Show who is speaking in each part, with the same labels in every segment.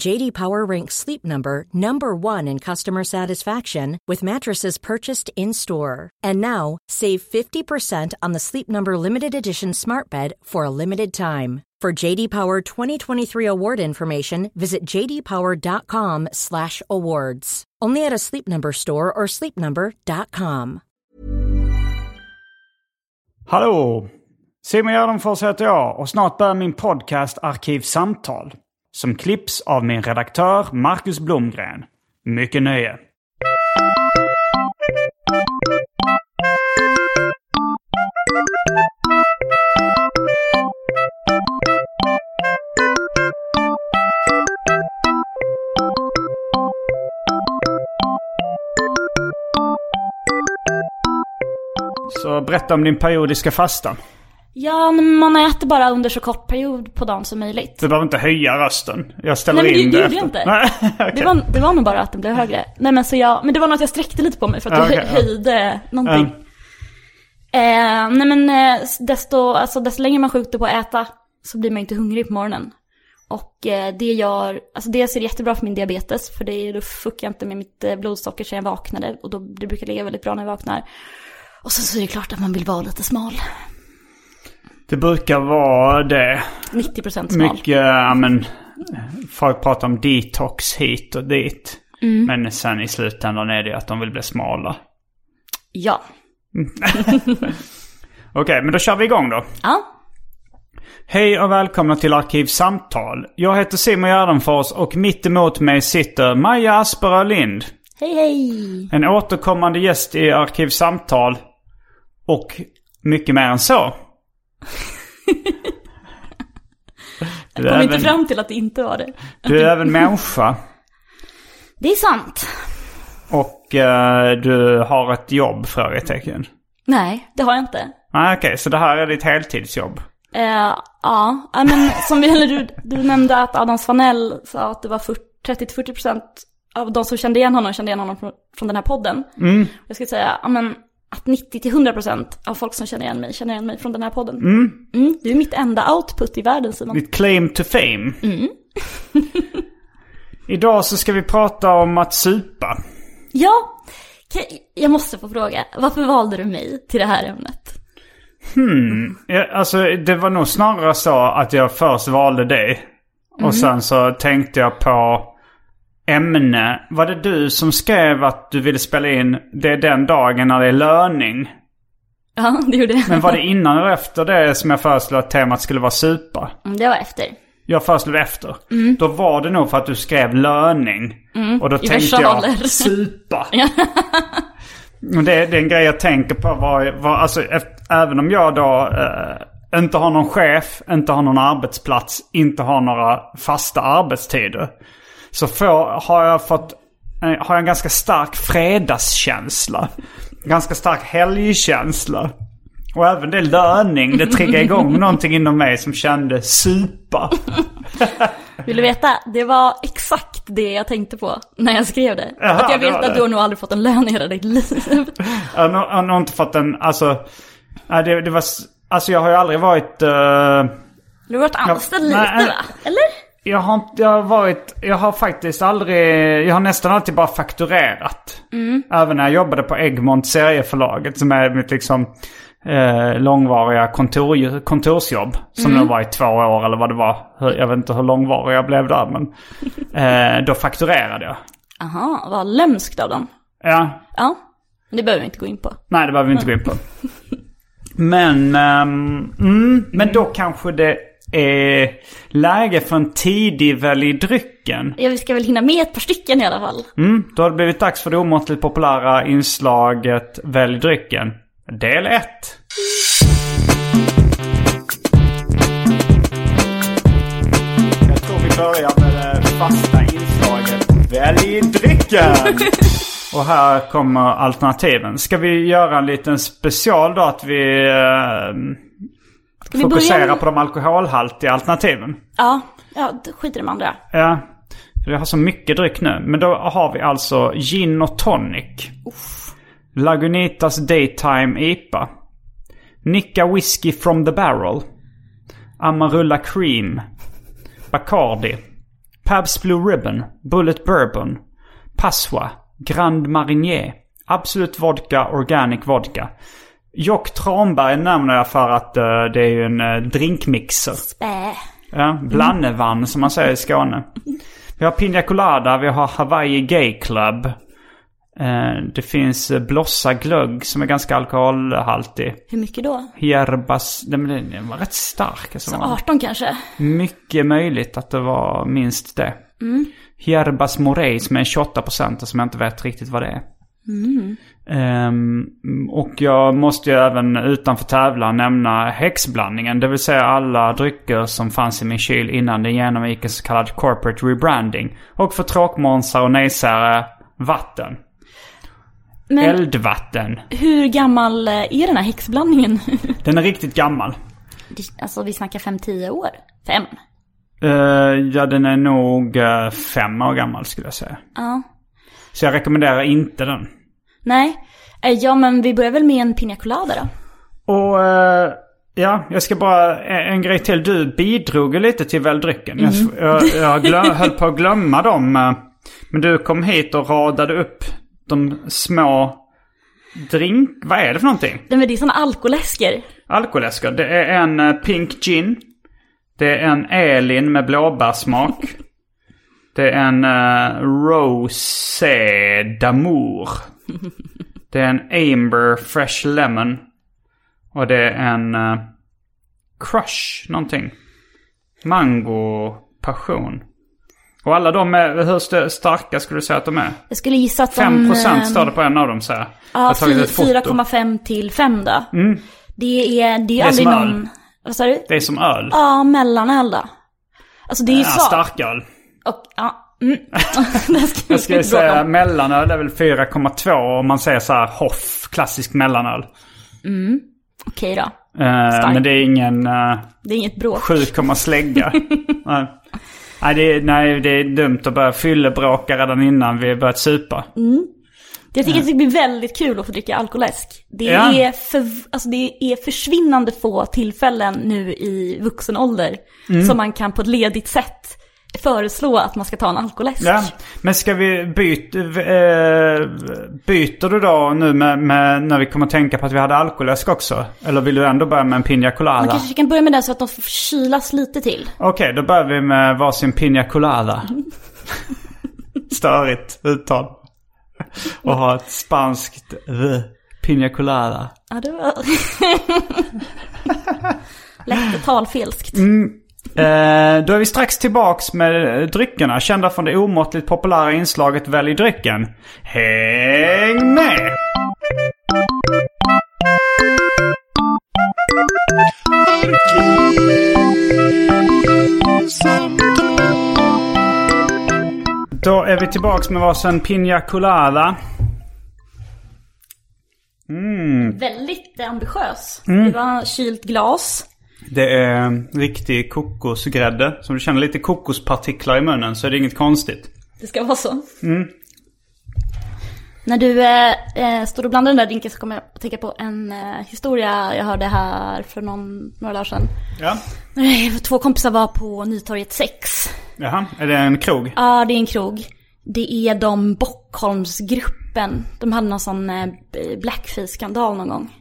Speaker 1: JD Power ranks Sleep Number number 1 in customer satisfaction with mattresses purchased in-store. And now, save 50% on the Sleep Number limited edition smart bed for a limited time. For JD Power 2023 award information, visit jdpower.com/awards. Only at a Sleep Number store or sleepnumber.com.
Speaker 2: Hallå! Simon Gärdenfors heter jag och snart börjar min podcast Arkivsamtal som klipps av min redaktör Marcus Blomgren. Mycket nöje! Så berätta om din periodiska fasta.
Speaker 3: Ja, men man äter bara under så kort period på dagen som möjligt.
Speaker 2: Du behöver inte höja rösten. Jag ställer
Speaker 3: Nej, men
Speaker 2: in
Speaker 3: det
Speaker 2: det
Speaker 3: gjorde jag
Speaker 2: efter.
Speaker 3: inte.
Speaker 2: Nej, okej.
Speaker 3: Det var, det var nog bara att den blev högre. Nej men så jag, men det var något jag sträckte lite på mig för att
Speaker 2: Ja,
Speaker 3: jag hö-
Speaker 2: okej, ja.
Speaker 3: höjde
Speaker 2: Ehm,
Speaker 3: någonting. Eh, nej men eh, desto, alltså, desto längre man skjuter på att äta så blir man inte hungrig på morgonen. Och eh, det gör, alltså dels är det jättebra för min diabetes för det, då fuckar jag inte med mitt eh, blodsocker sen jag vaknade och då, det brukar ligga väldigt bra när jag vaknar. Och sen så är det klart att man vill vara lite smal.
Speaker 2: Det brukar vara det.
Speaker 3: 90% smal.
Speaker 2: Mycket, ja men... Folk pratar om detox hit och dit.
Speaker 3: Mm.
Speaker 2: Men sen i slutändan är det ju att de vill bli smala.
Speaker 3: Ja.
Speaker 2: Okej, men då kör vi igång då.
Speaker 3: Ja.
Speaker 2: Hej och välkomna till Arkivsamtal. Jag heter Simon Gärdenfors och mitt emot mig sitter Maja Asperö Lind.
Speaker 3: Hej hej!
Speaker 2: En återkommande gäst i Arkivsamtal. Och mycket mer än så. Du
Speaker 3: Kom
Speaker 2: är,
Speaker 3: inte
Speaker 2: även,
Speaker 3: fram till att det inte var det.
Speaker 2: du är även människa.
Speaker 3: Det är sant.
Speaker 2: Och eh, du har ett jobb? Frågetecken.
Speaker 3: Nej, det har jag inte.
Speaker 2: Nej, okej. så det här är ditt heltidsjobb?
Speaker 3: Eh, ja, Ja, men som vi, eller du, du nämnde att Adam Svanell sa att det var 40 30-40% av de som kände igen honom kände igen honom från, från den här podden.
Speaker 2: Mm.
Speaker 3: Jag skulle säga ja, men, att 90-100% av folk som känner igen mig känner igen mig från den här podden. Mm, du är mitt enda output i världen Simon.
Speaker 2: Ditt claim to fame?
Speaker 3: Mm.
Speaker 2: Idag så ska vi prata om att supa.
Speaker 3: Ja, Okej, jag måste få fråga, varför valde du mig till det här ämnet?
Speaker 2: Ja, alltså det var nog snarare så att jag först valde dig. Och sen så tänkte jag på ämne. Var det du som skrev att du ville spela in Det är den dagen när det är löning?
Speaker 3: Ja, det gjorde jag.
Speaker 2: Men var det innan eller efter det som jag föreslog att temat skulle vara supa?
Speaker 3: Mm, Det var efter.
Speaker 2: Jag föreslog efter. Då var det nog för att du skrev löning. Och då tänkte
Speaker 3: versaler.
Speaker 2: jag supa. Och det, det är en grej jag tänker på. Var, var, alltså, eft- även om jag då eh, inte har någon chef, inte har någon arbetsplats, inte har några fasta arbetstider. Så får, har jag fått eh, har jag en ganska stark fredagskänsla. Ganska stark helgkänsla. Och även det löning, det triggade igång någonting inom mig som kände supa.
Speaker 3: Vill du veta? Det var exakt det jag tänkte på när jag skrev det.
Speaker 2: Jaha,
Speaker 3: att jag
Speaker 2: det
Speaker 3: vet
Speaker 2: var
Speaker 3: att
Speaker 2: det.
Speaker 3: du har nog aldrig fått en lön i hela ditt liv.
Speaker 2: Jag har nog- jag har nog inte fått en, alltså... nej, Det, det var, s- alltså jag har ju aldrig varit... eh,
Speaker 3: Du har varit anställd
Speaker 2: Ja, nej.
Speaker 3: lite va? Eller?
Speaker 2: jag, har, inte- jag har varit, jag har faktiskt aldrig, jag har nästan alltid bara fakturerat. Även när jag jobbade på Egmont serieförlaget som är mitt liksom eh, långvariga kontor, kontorsjobb. Som då var i två år eller vad det var. Hur- Jag vet inte hur långvarig jag blev där men. Eh, då fakturerade jag.
Speaker 3: Aha, vad lömskt av dem.
Speaker 2: Ja,
Speaker 3: Ja, men det behöver vi inte gå in på.
Speaker 2: nej det behöver vi inte gå in på. Men, ehm, mm, men då kanske det är läge för en tidig välj drycken.
Speaker 3: Ja, vi ska väl hinna med ett par stycken i alla fall.
Speaker 2: Mm, då har det blivit dags för det omåttligt populära inslaget Välj drycken. Del 1. Jag tror vi börjar med det fasta inslaget Välj drycken. Och här kommer alternativen. Ska vi göra en liten special då att vi eh,
Speaker 3: Ska vi
Speaker 2: fokuserar
Speaker 3: börja?
Speaker 2: på de alkoholhaltiga alternativen?
Speaker 3: Ja, ja, d- skit i de andra.
Speaker 2: Ja, för jag har så mycket dryck nu. Men då har vi alltså gin och tonic. Lagunitas Daytime IPA. Nicka Whiskey from the Barrel. Amarula Cream. Bacardi. Pabst Blue Ribbon. Bullet Bourbon. Passoa. Grand Marnier. Absolut Vodka Organic Vodka. Jock Tranberg nämner jag för att eh, det är ju en eh, drinkmixer.
Speaker 3: Spä.
Speaker 2: Ja, blannevann som man säger i Skåne. Vi har Pina Colada, vi har Hawaii Gay Club. Eh, Det finns eh, Blossa glögg som är ganska alkoholhaltig.
Speaker 3: Hur mycket då?
Speaker 2: Hierbas, den den var rätt stark. Alltså. Den var
Speaker 3: 18 kanske?
Speaker 2: Mycket möjligt att det var minst det. Hierbas Morey som är 28% och som jag inte vet riktigt vad det är. Ehm, och jag måste ju även utanför tävlan nämna häxblandningen. Det vill säga alla drycker som fanns i min kyl innan den genomgick en så kallad corporate rebranding. Och för tråkmånsar och nejsare, vatten.
Speaker 3: Men
Speaker 2: Eldvatten.
Speaker 3: hur gammal eh, är den här häxblandningen?
Speaker 2: Den är riktigt gammal.
Speaker 3: Det- alltså vi snackar 5-10 år. 5?
Speaker 2: Eh, ja, den är nog eh, fem år gammal skulle jag säga.
Speaker 3: Ja.
Speaker 2: Så jag rekommenderar inte den.
Speaker 3: Nej. Eh, Ja men vi börjar väl med en Pina Colada då?
Speaker 2: Och eh, ja, jag ska bara, en, en grej till. Du bidrog ju lite till väldrycken. Jag, jag, jag glö, höll på att glömma dem. eh, Men du kom hit och radade upp de små drink... Vad är det för någonting?
Speaker 3: Nej men det är såna alkoläsker.
Speaker 2: Alkoläskor. Det är en eh, pink gin. Det är en Elin med blåbärssmak. Det är en uh, Rosé d'Amour. Det är en Amber Fresh Lemon. Och det är en eh, Crush någonting. Mango Passion. Och alla de är, hur st- starka skulle du säga att de är?
Speaker 3: Jag skulle gissa att de...
Speaker 2: 5%
Speaker 3: eh,
Speaker 2: står det på en av dem så här. Jag
Speaker 3: Ja,
Speaker 2: har tagit ett foto. Mm.
Speaker 3: 4,5 till 5 då. Det är, det är
Speaker 2: är
Speaker 3: aldrig
Speaker 2: som öl.
Speaker 3: någon... Vad sa du?
Speaker 2: Det är som öl.
Speaker 3: Ja, mellanöl då. Alltså det är ju
Speaker 2: Ja,
Speaker 3: svagt.
Speaker 2: starköl.
Speaker 3: Och, ja. Mm. det ska vi
Speaker 2: Jag skulle
Speaker 3: inte bråka
Speaker 2: säga
Speaker 3: om.
Speaker 2: mellanöl är väl 4,2 om man säger så här Hoff, klassisk mellanöl.
Speaker 3: Okej då.
Speaker 2: Eh, men det är ingen eh,
Speaker 3: Det är inget bråk.
Speaker 2: 7, slägga. nej. Nej, det är, nej, det är dumt att börja fyllebråka redan innan vi börjat supa.
Speaker 3: Mm. Jag tycker att det blir väldigt kul att få dricka alkoläsk. Det,
Speaker 2: Ja.
Speaker 3: är, för, alltså det är försvinnande få tillfällen nu i vuxen ålder
Speaker 2: Mm.
Speaker 3: som man kan på ett ledigt sätt föreslå att man ska ta en alkoläsk.
Speaker 2: Ja. Men ska vi byta... Eh, byter du då nu med, med, när vi kommer tänka på att vi hade alkoläsk också? Eller vill du ändå börja med en Pina
Speaker 3: Man
Speaker 2: Colada?
Speaker 3: kanske kan börja med det så att de får kylas lite till.
Speaker 2: Okej, då börjar vi med varsin Pina Colada. Störigt uttal. Och ha ett spanskt v. Pina Colada.
Speaker 3: Ja, det var... Lätt talfelskt.
Speaker 2: Mm. Eh, då är vi strax tillbaks med eh, dryckerna, kända från det omåttligt populära inslaget Välj drycken. Häng med! Då är vi tillbaks med varsin Pina Colada.
Speaker 3: Väldigt eh, ambitiös. Det var kylt glas.
Speaker 2: Det är riktig kokosgrädde. Så om du känner lite kokospartiklar i munnen så är det inget konstigt.
Speaker 3: Det ska vara så. När du eh, eh, står och blandar den där drinken så kommer jag att tänka på en eh, historia jag hörde här för någon, några dagar sedan.
Speaker 2: Ja.
Speaker 3: Nej, Två kompisar var på Nytorget 6.
Speaker 2: Jaha, är det en krog?
Speaker 3: Ja, det är en krog. Det är de Bockholmsgruppen. De hade någon sån eh, blackface-skandal någon gång.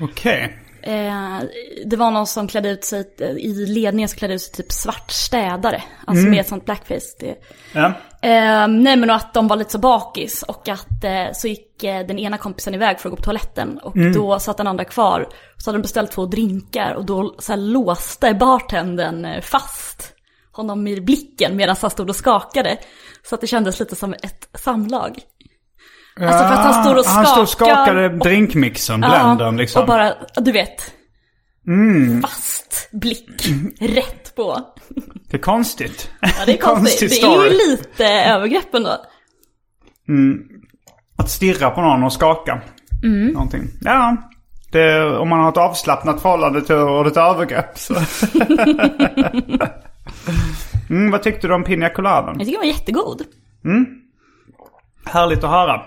Speaker 2: Okej.
Speaker 3: Eh, det var någon som klädde ut sig, eh, i ledningen som klädde ut sig till typ svart städare. Alltså
Speaker 2: Mm.
Speaker 3: med ett sånt blackface. Det,
Speaker 2: Ja.
Speaker 3: eh, nej men och att de var lite så bakis och att eh, så gick eh, den ena kompisen iväg för att gå på toaletten och
Speaker 2: Mm.
Speaker 3: då satt den andra kvar. Så hade de beställt två drinkar och då så här, låste bartendern eh, fast honom i blicken medan han stod och skakade. Så att det kändes lite som ett samlag. Alltså för att han stod och
Speaker 2: Ah, Han stod och
Speaker 3: skakade
Speaker 2: skakade
Speaker 3: och-
Speaker 2: drinkmixen, blendern
Speaker 3: Ja,
Speaker 2: liksom. Mm.
Speaker 3: Och bara, du vet. Fast blick rätt på.
Speaker 2: Det är konstigt.
Speaker 3: Ja, det är
Speaker 2: Konstig
Speaker 3: konstigt. Det är ju
Speaker 2: story.
Speaker 3: lite övergrepp ändå.
Speaker 2: Att stirra på någon och skaka.
Speaker 3: Mm.
Speaker 2: Någonting. Ja. Det, om man har ett avslappnat förhållande till ordet övergrepp så. mm, vad tyckte du om Pina Coladan?
Speaker 3: Jag tycker den var jättegod.
Speaker 2: Härligt att höra.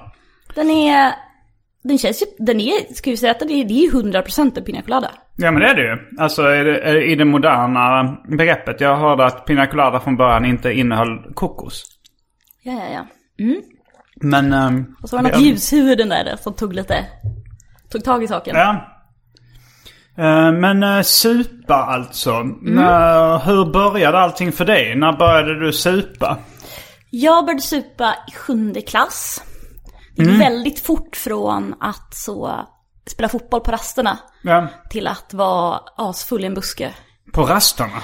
Speaker 3: Den är, den känns ju, den är, ska vi säga att det är, det är ju 100% en pina colada.
Speaker 2: Ja men det är det ju. Alltså är det, är det i det moderna begreppet. Jag hörde att Pina Colada från början inte innehöll kokos.
Speaker 3: Ja, ja, ja.
Speaker 2: Men... ehm,
Speaker 3: Och så var det
Speaker 2: det-
Speaker 3: något ljushuvud den där som tog lite, tog tag i saken.
Speaker 2: Ja. Eh, Men eh, supa alltså. När- hur började allting för dig? När började du supa?
Speaker 3: Jag började supa i sjunde klass. Det gick
Speaker 2: Mm.
Speaker 3: väldigt fort från att så spela fotboll på rasterna
Speaker 2: Ja.
Speaker 3: till att vara asfull i en buske.
Speaker 2: På rasterna?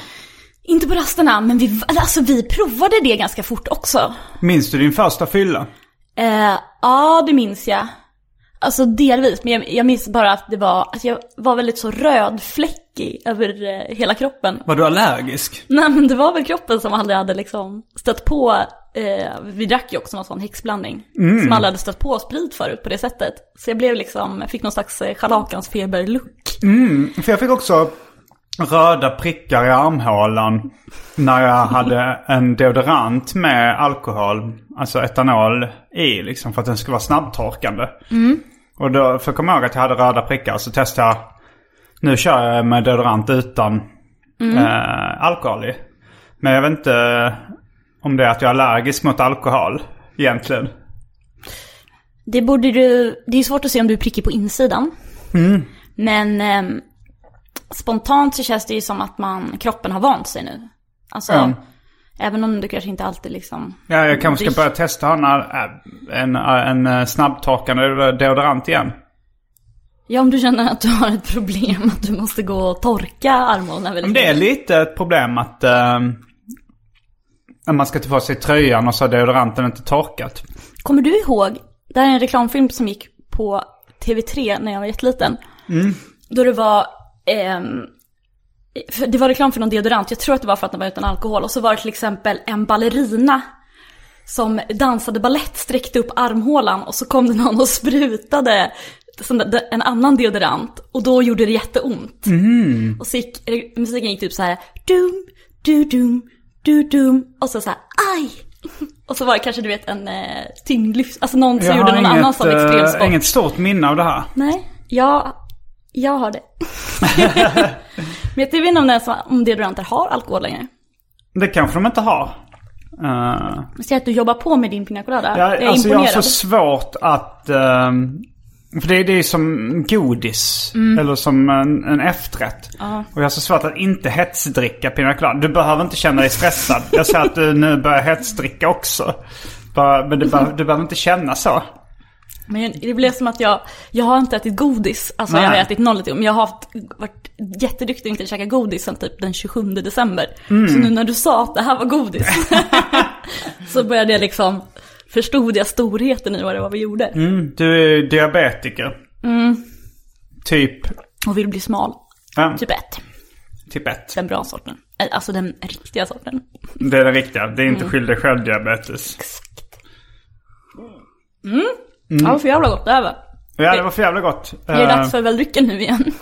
Speaker 3: Inte på rasterna, men vi, alltså, vi provade det ganska fort också.
Speaker 2: Minns du din första fylla?
Speaker 3: Eh, ja, det minns jag. Alltså delvis, men jag, jag minns bara att det var, alltså, jag var väldigt så rödfläckig över eh, hela kroppen.
Speaker 2: Var du allergisk?
Speaker 3: Nej men det var väl kroppen som aldrig hade liksom stött på, eh, vi drack ju också någon sån häxblandning. Som aldrig hade stött på sprit förut på det sättet. Så jag blev liksom, jag fick någon slags eh, schalakansfeber-look.
Speaker 2: För jag fick också röda prickar i armhålan när jag hade en deodorant med alkohol, alltså etanol i liksom för att den skulle vara snabbtorkande. Och då, för jag kommer ihåg att jag hade röda prickar så testade jag, nu kör jag med deodorant utan eh, alkohol i. Men jag vet inte om det är att jag är allergisk mot alkohol egentligen.
Speaker 3: Det borde du, det är svårt att se om du är prickig på insidan.
Speaker 2: Mm.
Speaker 3: Men ehm, spontant så känns det ju som att man, kroppen har vant sig nu. Alltså,
Speaker 2: Ja.
Speaker 3: även om du kanske inte alltid liksom...
Speaker 2: Mm. Ja, jag kanske
Speaker 3: Drick.
Speaker 2: ska börja testa en, en, en eh, snabbtorkande deodorant igen.
Speaker 3: Ja, om du känner att du har ett problem att du måste gå och torka armhålorna väldigt
Speaker 2: Men det är lite ett problem att eh, när man ska ta på sig tröjan och så har deodoranten inte torkat.
Speaker 3: Kommer du ihåg, det här är en reklamfilm som gick på TV3 när jag var jätteliten. Då det var, ehm, för det var reklam för någon deodorant, jag tror att det var för att den var utan alkohol. Och så var det till exempel en ballerina som dansade ballett sträckte upp armhålan och så kom det någon och sprutade sån där- en annan deodorant och då gjorde det jätteont.
Speaker 2: Mm.
Speaker 3: Och så gick, eller, musiken gick typ så här dum, du dum, du dum och så så här aj. Och så var det kanske du vet en eh, tyngdlyft, alltså någon som gjorde någon annan sån
Speaker 2: eh,
Speaker 3: extremsport.
Speaker 2: inget stort minne av det här.
Speaker 3: Nej, jag, jag har det. Men jag vet inte om, det är så- om deodoranter har alkohol längre.
Speaker 2: Det kanske de inte har. Eh,
Speaker 3: Ser att du jobbar på med din pina colada. jag är
Speaker 2: jag, alltså jag har
Speaker 3: imponerad.
Speaker 2: så svårt att... eh, för det, det är som godis.
Speaker 3: Mm.
Speaker 2: Eller som en, en efterrätt. Och jag har så svårt att inte hetsdricka Pina Colada. Du behöver inte känna dig stressad. jag ser att du nu börjar hetsdricka också. Bara, men du, behöver- du behöver inte känna så.
Speaker 3: Men det blev som att jag, jag har inte ätit godis. Alltså jag har
Speaker 2: Nej.
Speaker 3: ätit noll men jag har haft, varit jätteduktig och inte käka godis sen typ den 27 december.
Speaker 2: Mm.
Speaker 3: Så nu när du sa att det här var godis så började jag liksom, förstod jag storheten i vad det var vi gjorde.
Speaker 2: Mm. Du är diabetiker.
Speaker 3: Mm.
Speaker 2: Typ,
Speaker 3: Och vill bli smal.
Speaker 2: ja,
Speaker 3: Typ ett.
Speaker 2: typ 1.
Speaker 3: Den bra sorten. Eh, Alltså den riktiga sorten.
Speaker 2: Det är den riktiga. Det är
Speaker 3: Mm.
Speaker 2: inte skyll dig själv diabetes.
Speaker 3: Ja, vad för jävla gott det här var.
Speaker 2: Ja, det var för jävla gott.
Speaker 3: Det är
Speaker 2: Mm. Eh,
Speaker 3: dags för väldrycken nu igen.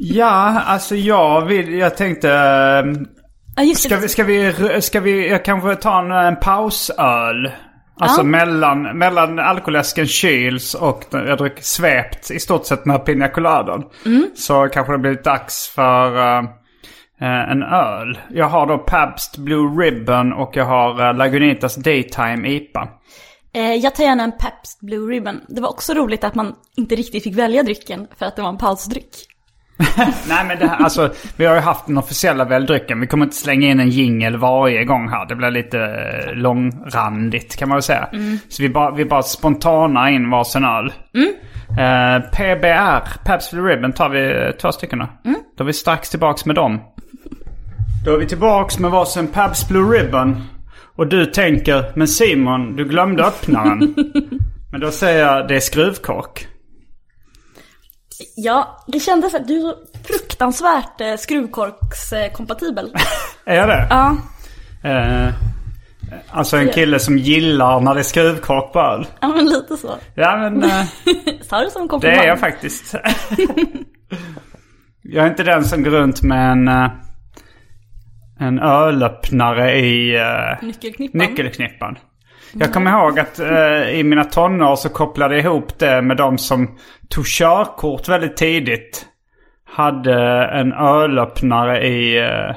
Speaker 2: Ja, alltså jag vill, jag tänkte... eh,
Speaker 3: Ja, just
Speaker 2: Ska
Speaker 3: det.
Speaker 2: vi, ska vi, ska vi, jag kanske ta en, en pausöl. Alltså
Speaker 3: Ja.
Speaker 2: mellan, mellan alkoläsken kyls och den- jag dricker svept i stort sett med Pina Coladan.
Speaker 3: Mm.
Speaker 2: Så kanske det blir dags för eh, eh, en öl. Jag har då Pabst Blue Ribbon och jag har eh, Lagunitas Daytime IPA.
Speaker 3: Eh, jag tar gärna en Pabst Blue Ribbon. Det var också roligt att man inte riktigt fick välja drycken för att det var en pausdryck.
Speaker 2: Nej men det här, alltså, vi har ju haft den officiella väldrycken. Vi kommer inte slänga in en jingel varje gång här. Det blir lite eh, långrandigt kan man väl säga. Så vi bara, vi bara spontana in varsin öl. Eh, PBR, Pabst Blue Ribbon, tar vi eh, två stycken då. Då är vi strax tillbaks med dem. Då är vi tillbaks med varsin Pabst Blue Ribbon. Och du tänker, men Simon, du glömde öppna den. men då säger jag, det är skruvkork.
Speaker 3: Ja, det kändes att du är så fruktansvärt eh, skruvkorkskompatibel.
Speaker 2: Är jag det?
Speaker 3: ja.
Speaker 2: Eh, alltså en kille som gillar när det är skruvkork på öl.
Speaker 3: ja, men lite så.
Speaker 2: Ja men eh,
Speaker 3: Sa du som en
Speaker 2: det
Speaker 3: komplimang?
Speaker 2: är jag faktiskt. jag är inte den som går runt med en, eh, en ölöppnare i eh,
Speaker 3: Nyckelknippan.
Speaker 2: nyckelknippan. Jag kommer ihåg att eh, i mina tonår så kopplade jag ihop det med de som tog körkort väldigt tidigt. Hade en ölöppnare i... Eh,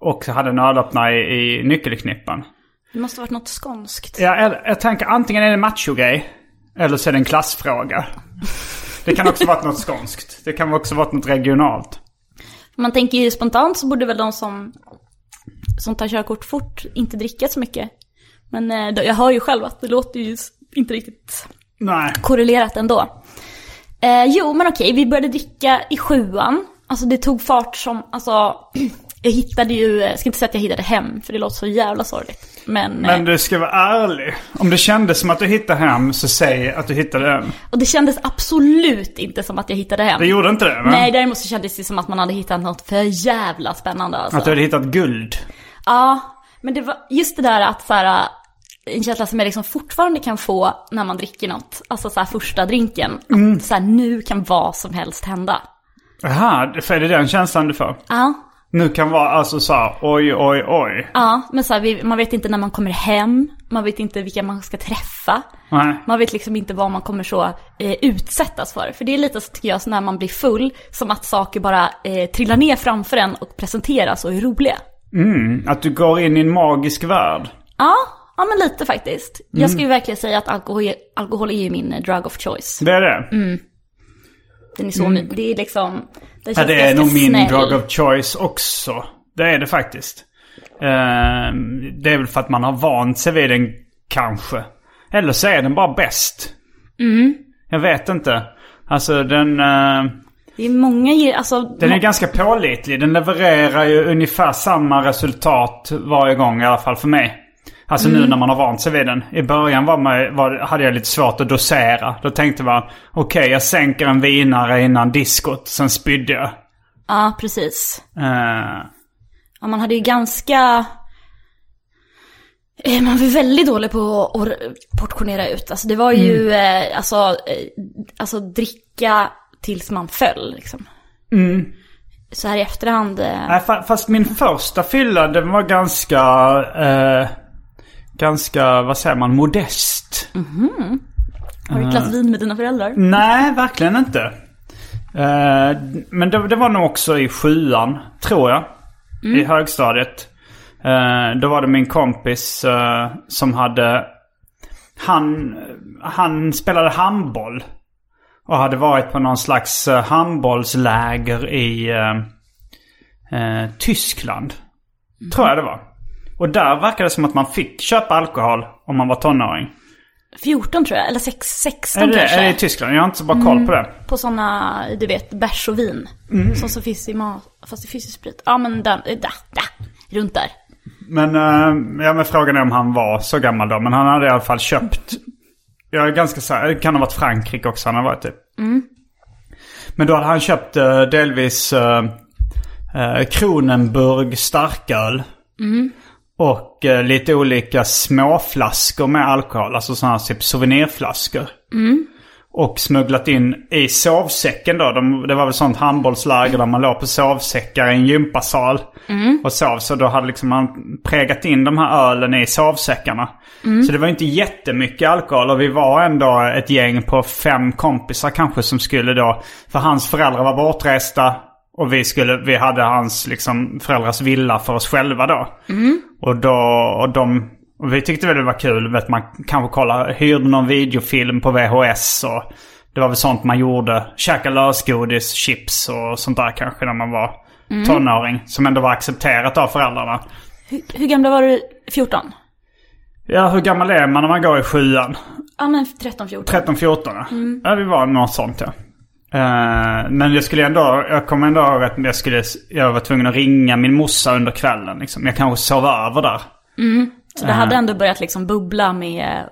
Speaker 2: och hade en ölöppnare i, i nyckelknippan.
Speaker 3: Det måste ha varit något skånskt.
Speaker 2: Ja, jag, jag tänker antingen är det en machogrej eller så är det en klassfråga. Det kan också varit något skånskt. Det kan också varit något regionalt.
Speaker 3: Man tänker ju spontant så borde väl de som, som tar körkort fort inte dricka så mycket. Men eh, då- jag hör ju själv att det låter ju s- inte riktigt
Speaker 2: Nej.
Speaker 3: korrelerat ändå. Eh, jo, men okej, vi började dricka i sjuan. Alltså det tog fart som, alltså, jag hittade ju, jag ska inte säga att jag hittade hem, för det låter så jävla sorgligt. Men,
Speaker 2: Men
Speaker 3: eh,
Speaker 2: du ska vara ärlig. Om det kändes som att du hittade hem så säg att du hittade hem.
Speaker 3: och det kändes absolut inte som att jag hittade hem.
Speaker 2: Det gjorde inte det va?
Speaker 3: Nej, däremot så kändes det som att man hade hittat något för jävla spännande alltså.
Speaker 2: Att du hade hittat guld.
Speaker 3: Ja, men det var just det där att så här, en känsla som jag liksom fortfarande kan få när man dricker något, alltså så här första drinken,
Speaker 2: Mm.
Speaker 3: att så här, nu kan vad som helst hända.
Speaker 2: Jaha, för är det den känslan du får?
Speaker 3: Ja,
Speaker 2: Nu kan vara alltså så här, oj, oj, oj.
Speaker 3: ja men så här, vi, man vet inte när man kommer hem, man vet inte vilka man ska träffa.
Speaker 2: Nej.
Speaker 3: Man vet liksom inte vad man kommer så eh, utsättas för. För det är lite så tycker jag, så när man blir full, som att saker bara eh, trillar ner framför en och presenteras och är roliga.
Speaker 2: Mm, att du går in i en magisk värld.
Speaker 3: Ja, ja men lite faktiskt.
Speaker 2: Mm.
Speaker 3: Jag skulle ju verkligen säga att alkohol, alkohol är ju min eh, drug of choice.
Speaker 2: Det är det.
Speaker 3: Den är så mm. Det är liksom...
Speaker 2: Ja,
Speaker 3: Den känns
Speaker 2: det är
Speaker 3: ganska
Speaker 2: nog min
Speaker 3: snäll.
Speaker 2: drug of choice också. Det är det faktiskt. Ehm, det är väl för att man har vant sig vid den kanske. Eller så är den bara bäst. Jag vet inte. Alltså den, eh,
Speaker 3: Det är många... ge- Alltså,
Speaker 2: den är
Speaker 3: må-
Speaker 2: ganska pålitlig. Den levererar ju ungefär samma resultat varje gång i alla fall för mig. Alltså nu när man har vant sig vid den. I början var man, var, hade jag lite svårt att dosera. Då tänkte man okej jag sänker en vinare innan diskot. Sen spydde jag.
Speaker 3: Ja, precis.
Speaker 2: Eh,
Speaker 3: Ja, man hade ju ganska... eh, Man var väldigt dålig på att or- portionera ut. Alltså det var ju
Speaker 2: Mm.
Speaker 3: eh, alltså, eh, alltså dricka tills man föll liksom.
Speaker 2: Mm.
Speaker 3: Så här i efterhand. eh,
Speaker 2: Nej, fa- fast min första fylla den var ganska... Eh, ganska, vad säger man, modest.
Speaker 3: Har
Speaker 2: Ah.
Speaker 3: du ett glas vin med dina föräldrar?
Speaker 2: Nej, verkligen inte. Eh, men det, det var nog också i sjuan, tror jag. I högstadiet. Eh, då var det min kompis eh, som hade... Han, han spelade handboll. Och hade varit på någon slags eh, handbollsläger i eh, eh, Tyskland. Tror jag det var. Och där verkade det som att man fick köpa alkohol om man var tonåring.
Speaker 3: 14 tror jag, eller sex,
Speaker 2: Är
Speaker 3: 16
Speaker 2: det,
Speaker 3: kanske.
Speaker 2: är det i Tyskland? Jag har inte så bra koll på det.
Speaker 3: På sådana, du vet, bärs och vin.
Speaker 2: Mm.
Speaker 3: Som så finns i mat, fast det finns ju sprit. Ja men den, eh, där, där, runt där.
Speaker 2: Men, eh, ja, men frågan är om han var så gammal då. Men han hade i alla fall köpt. Jag är ganska säker. Det kan ha varit Frankrike också han har varit typ. Men då hade han köpt eh, delvis eh, eh, Kronenburg starköl. Och eh, lite olika småflaskor med alkohol. Alltså sådana här typ souvenirflaskor. Och smugglat in i sovsäcken då. De, det var väl sånt handbollsläger där man låg på sovsäckar i en gympasal. Och sov. Så då hade liksom man prägat in de här ölen i sovsäckarna. Så det var inte jättemycket alkohol. Och vi var ändå ett gäng på fem kompisar kanske som skulle då. För hans föräldrar var bortresta. Och vi, skulle, vi hade hans liksom, föräldrars villa för oss själva då. Och, då, och de Och vi tyckte väl det var kul. Vet, man kanske kollade, hyrde någon videofilm på VHS. Och det var väl sånt man gjorde. Käka lösgodis, chips och sånt där kanske när man var tonåring. Som ändå var accepterat av föräldrarna.
Speaker 3: Hur, hur gamla var du? 14?
Speaker 2: Ja, hur gammal är man när man går i sjuan?
Speaker 3: Ja men 13, 14.
Speaker 2: 13-14 ja. ja. det var något sånt ja. Eh, men jag skulle ändå, jag kommer ändå ihåg att jag skulle, jag var tvungen att ringa min morsa under kvällen liksom. Jag kanske sov över där.
Speaker 3: Så det hade ändå börjat liksom bubbla med eh,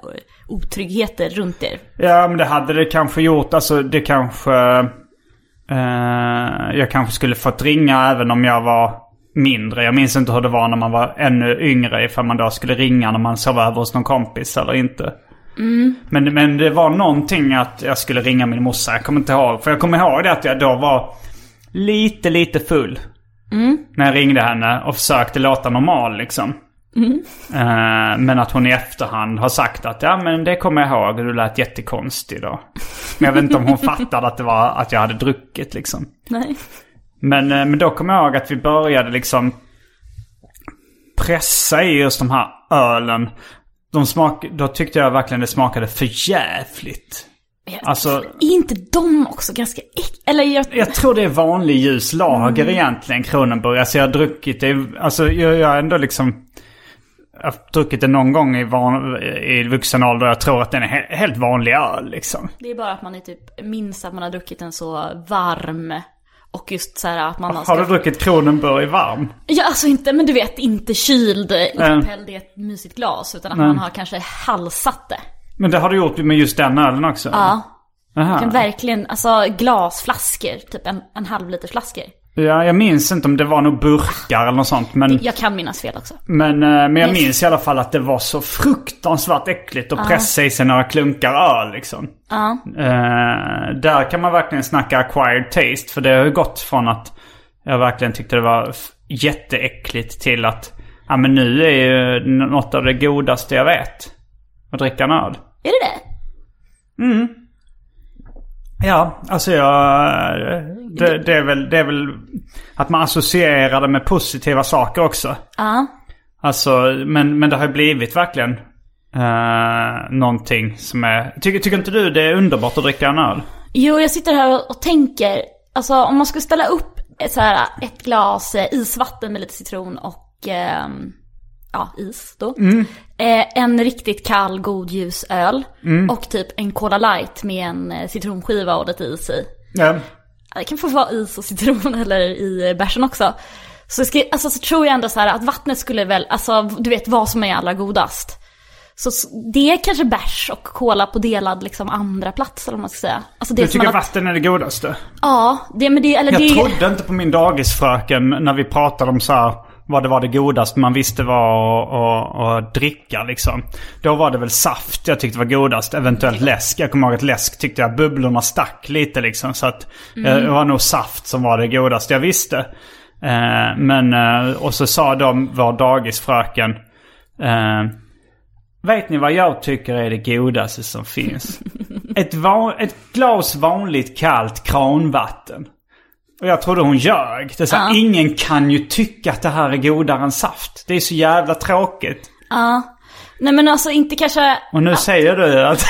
Speaker 3: otryggheter runt er.
Speaker 2: Ja men det hade det kanske gjort, alltså det kanske... eh, jag kanske skulle fått ringa även om jag var mindre. Jag minns inte hur det var när man var ännu yngre. Ifall man då skulle ringa när man sov över hos någon kompis eller inte. Men, men det var någonting att jag skulle ringa min morsa. Jag kommer inte ihåg. För jag kommer ihåg det att jag då var lite, lite full. När jag ringde henne och försökte låta normal liksom. Eh, men att hon i efterhand har sagt att ja men det kommer jag ihåg. Du lät jättekonstig då. Men jag vet inte om hon fattade att det var att jag hade druckit liksom.
Speaker 3: Nej.
Speaker 2: Men, eh, men då kommer jag ihåg att vi började liksom pressa i oss de här ölen. De smak, då tyckte jag verkligen det smakade för jävligt. Alltså,
Speaker 3: Är inte de också ganska äck... Eller jag...
Speaker 2: jag tror det är vanlig ljus lager
Speaker 3: Mm.
Speaker 2: egentligen, Kronenburg. Alltså jag har druckit det, alltså jag, jag har ändå liksom... Jag har druckit det någon gång i, van, i vuxen ålder jag tror att den är he, helt vanlig öl liksom.
Speaker 3: Det är bara att man är typ, minns att man har druckit en så varm. Och just så här att man
Speaker 2: Ah, Har du druckit Kronenburg varm?
Speaker 3: Ja, alltså inte, men du vet, inte kyld upphälld i ett mysigt glas. Utan att man har kanske halsat det.
Speaker 2: Men det har du gjort med just den ölen också?
Speaker 3: Ja.
Speaker 2: Aha.
Speaker 3: Kan verkligen, alltså glasflaskor. Typ en, en halv liters flaskor.
Speaker 2: Ja, jag minns inte om det var nog burkar eller något sånt. Men,
Speaker 3: Jag kan minnas fel också.
Speaker 2: men, eh, men jag minns i alla fall att det var så fruktansvärt äckligt att pressa i sig några klunkar öl liksom.
Speaker 3: Ja.
Speaker 2: Eh, där kan man verkligen snacka acquired taste. För det har ju gått från att jag verkligen tyckte det var f- jätteäckligt till att ja, men nu är ju n- något av det godaste jag vet. Att dricka en öl.
Speaker 3: Är det det?
Speaker 2: Ja, alltså jag... eh, Det, det, är väl, det är väl att man associerar det med positiva saker också.
Speaker 3: Ja.
Speaker 2: Alltså, men, men det har ju blivit verkligen uh, någonting som är... Tycker, tycker inte du det är underbart att dricka en öl?
Speaker 3: Jo, jag sitter här och- och tänker, alltså om man skulle ställa upp ett, så här, ett glas eh, isvatten med lite citron och ehm, ja, is då. Eh, en riktigt kall god ljusöl och typ en Cola light med en eh, citronskiva och lite is i.
Speaker 2: Ja.
Speaker 3: Ja, Det kan få vara is och citron eller i eh, bärsen också. Så, ska, alltså, så tror jag ändå så här att vattnet skulle väl, alltså du vet vad som är allra godast. Så s- det är kanske bärs och cola på delad liksom andra plats eller vad man ska säga. Alltså det
Speaker 2: Du
Speaker 3: som
Speaker 2: tycker
Speaker 3: man-
Speaker 2: vatten är det godaste?
Speaker 3: Ja, det, men det, eller
Speaker 2: Jag
Speaker 3: det,
Speaker 2: trodde inte på min dagisfröken när vi pratade om så här, vad det var det godaste man visste var att- att att dricka liksom. Då var det väl saft jag tyckte var godast, eventuellt läsk. Jag kommer ihåg att läsk tyckte jag bubblorna stack lite liksom. Så att eh,
Speaker 3: Mm.
Speaker 2: det var nog saft som var det godaste jag visste. Eh, men, eh, och så sa de, vår dagisfröken, eh, Vet ni vad jag tycker är det godaste som finns? Ett, va- ett glas vanligt kallt kranvatten. Och jag trodde hon ljög. Det är så här, Ingen kan ju tycka att det här är godare än saft. Det är så jävla tråkigt.
Speaker 3: ja. Nej men alltså inte kanske,
Speaker 2: Och nu säger du att...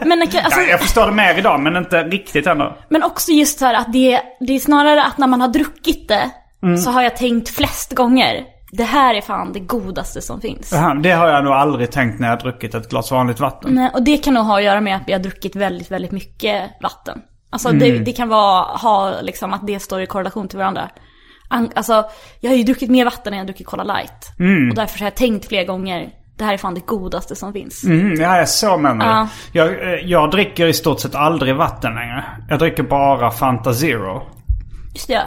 Speaker 3: men, det kan- alltså,
Speaker 2: jag förstår det mer idag men inte riktigt ändå.
Speaker 3: men också just så här att det, det är snarare att när man har druckit det
Speaker 2: Mm.
Speaker 3: så har jag tänkt flest gånger, det här är fan det godaste som finns.
Speaker 2: Det här- Det har jag nog aldrig tänkt när jag har druckit ett glas vanligt vatten.
Speaker 3: Nej, och det kan nog ha att göra med att vi har druckit väldigt, väldigt mycket vatten. Alltså
Speaker 2: Mm.
Speaker 3: det, det kan vara, ha liksom att det står i korrelation till varandra. An, alltså, jag har ju druckit mer vatten än jag har druckit Cola Light.
Speaker 2: Mm.
Speaker 3: Och därför har jag tänkt fler gånger, det här är fan det godaste som finns.
Speaker 2: Mm, ja, jag så menar du.
Speaker 3: Ja.
Speaker 2: Jag, eh, jag dricker i stort sett aldrig vatten längre. Jag dricker bara Fanta Zero.
Speaker 3: Just det, ja.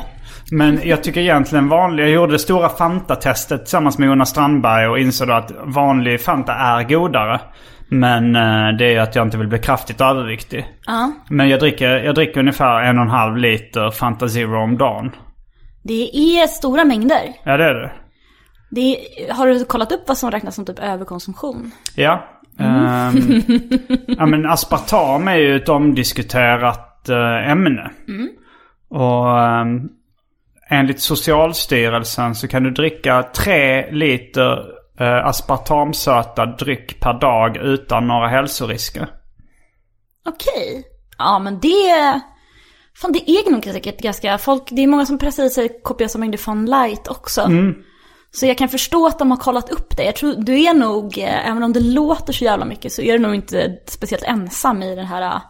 Speaker 2: Men jag tycker egentligen vanlig, jag gjorde det stora Fanta-testet tillsammans med Jonas Strandberg och insåg att vanlig Fanta är godare. Men eh, det är ju att jag inte vill bli kraftigt överviktig. Men jag dricker, jag dricker ungefär en och en halv liter Fanta Zero om dagen.
Speaker 3: Det är stora mängder.
Speaker 2: Ja det är det.
Speaker 3: Det är, har du kollat upp vad som räknas som typ överkonsumtion?
Speaker 2: Ja. Ehm, ja men aspartam är ju ett omdiskuterat eh, ämne. Och ehm, um, enligt Socialstyrelsen så kan du dricka tre liter eh, aspartamsöta dryck per dag utan några hälsorisker.
Speaker 3: Okej. Ja, men det... Fan, det är nog säkert ganska... Folk, det är många som pressar i sig kopiösa mängder Fun Light också. Så jag kan förstå att de har kollat upp dig. Jag tror du är nog, eh, även om det låter så jävla mycket, så är du nog inte speciellt ensam i den här... eh,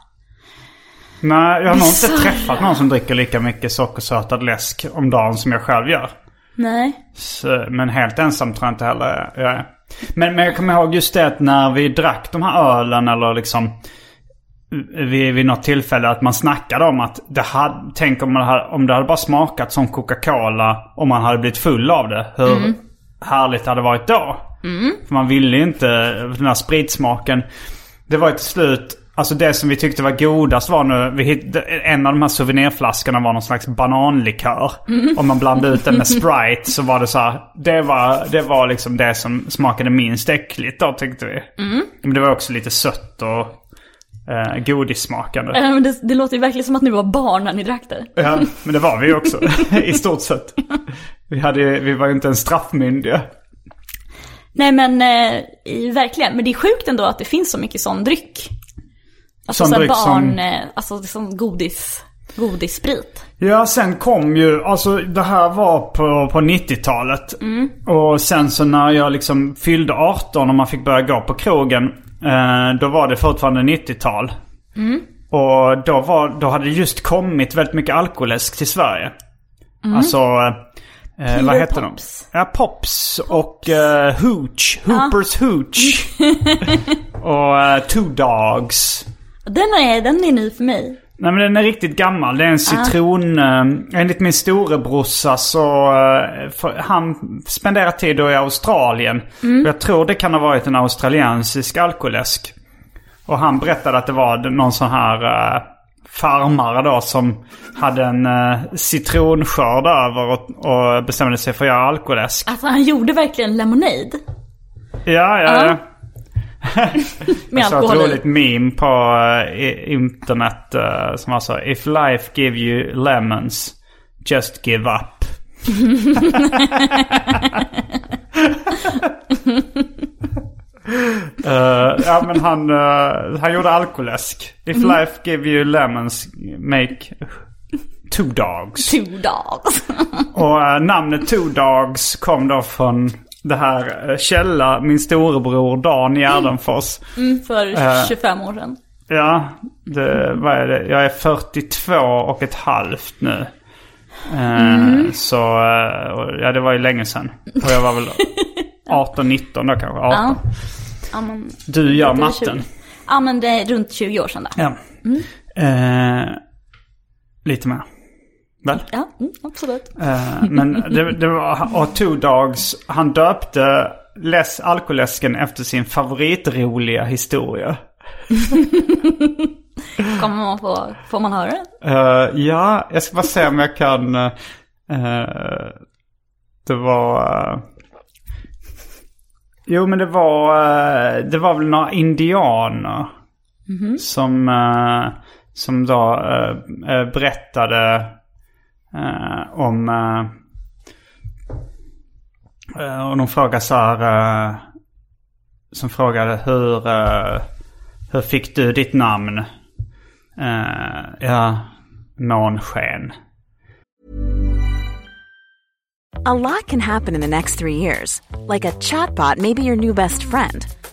Speaker 2: Nej, jag har nog inte
Speaker 3: Bizarra.
Speaker 2: träffat någon som dricker lika mycket sockersötad läsk om dagen som jag själv gör.
Speaker 3: Nej.
Speaker 2: Så, Eh, men helt ensam tror jag inte heller jag är. Men, men jag kommer ihåg just det att när vi drack de här ölen eller liksom eh, vid, vid något tillfälle att man snackade om att det hade, tänk om, man hade, om det hade bara smakat som Coca-Cola om man hade blivit full av det. Hur härligt hade det varit då? För man ville ju inte den här spritsmaken. Det var ju till slut, alltså det som vi tyckte var godast var nu, vi hittade, en av de här souvenirflaskorna var någon slags bananlikör.
Speaker 3: Mm.
Speaker 2: Om man blandade ut den med Sprite så var det så här, det var, det var liksom det som smakade minst äckligt då tyckte vi.
Speaker 3: Mm.
Speaker 2: Men det var också lite sött och eh, godissmakande.
Speaker 3: Eh, men Det, det låter ju verkligen som att ni var barn när ni drack det.
Speaker 2: Ja, men det var vi ju också. I stort sett. Vi, hade, ju- vi var ju inte ens straffmyndiga.
Speaker 3: Nej men eh, i, verkligen, men det är sjukt ändå att det finns så mycket sån dryck. Alltså
Speaker 2: Sån
Speaker 3: sån
Speaker 2: dryck som-
Speaker 3: barn, eh, alltså sån godis, godissprit.
Speaker 2: Ja, sen kom ju, alltså det här var på, på 90-talet. Och sen så när jag liksom fyllde 18 och man fick börja gå på krogen. Eh, då var det fortfarande 90-tal. Och då, var, då hade det just kommit väldigt mycket alkoläsk till Sverige. Alltså, eh, vad
Speaker 3: Killer
Speaker 2: heter de?
Speaker 3: Pops.
Speaker 2: Ja, Pops och eh, Hooch. Hoopers Hooch. och eh, Two Dogs.
Speaker 3: Den är, den är ny för mig.
Speaker 2: Nej men den är riktigt gammal. Det är en citron... Eh, enligt min storebrorsa så... Eh, för, han spenderar tid då i Australien. Och jag tror det kan ha varit en australiensisk alkoläsk. Och han berättade att det var någon sån här eh, farmare då som hade en eh, citronskörd över och, och bestämde sig för att göra alkoläsk.
Speaker 3: Alltså han gjorde verkligen lemonade
Speaker 2: Ja, ja, ja.
Speaker 3: Ja. med
Speaker 2: Jag såg ett
Speaker 3: alkohol i.
Speaker 2: roligt meme på eh, i- internet eh, som var så If life give you lemons, just give up. Eh, ja men han, eh, han gjorde alkoläsk. If life give you lemons, make two dogs.
Speaker 3: Two dogs.
Speaker 2: Och eh, namnet Two Dogs kom då från det här eh, Källa, min storebror Dan Gärdenfors.
Speaker 3: Mm, för
Speaker 2: Eh.
Speaker 3: 25 år sedan.
Speaker 2: Ja, det, vad är det? Jag är 42 och ett halvt nu. Eh,
Speaker 3: Mhm.
Speaker 2: Så, eh, och- ja det var ju länge sedan. Och jag var väl 18-19 då kanske. 18.
Speaker 3: Ja. Ja men,
Speaker 2: Du gör
Speaker 3: över
Speaker 2: matten.
Speaker 3: 20. ja men det är runt 20 år sedan då.
Speaker 2: Ja.
Speaker 3: Mm.
Speaker 2: Eh, lite mer. Väl?
Speaker 3: Ja, mm, absolut.
Speaker 2: Eh, Men det, det var, och Two Dogs, han döpte läs, alkoläsken efter sin favoritroliga historia.
Speaker 3: Kommer man få, får man höra det?
Speaker 2: Eh, ja, jag ska bara se om jag kan... eh, eh, det var... eh, jo, men det var... eh, det var väl några indianer. Som, eh, som då eh, eh, berättade eh, om... eh, eh, och de frågade så här... eh, som frågade hur... eh, hur fick du ditt namn? Eh, ja, månsken.
Speaker 4: A lot can happen in the next three years. Like a chatbot may be your new best friend.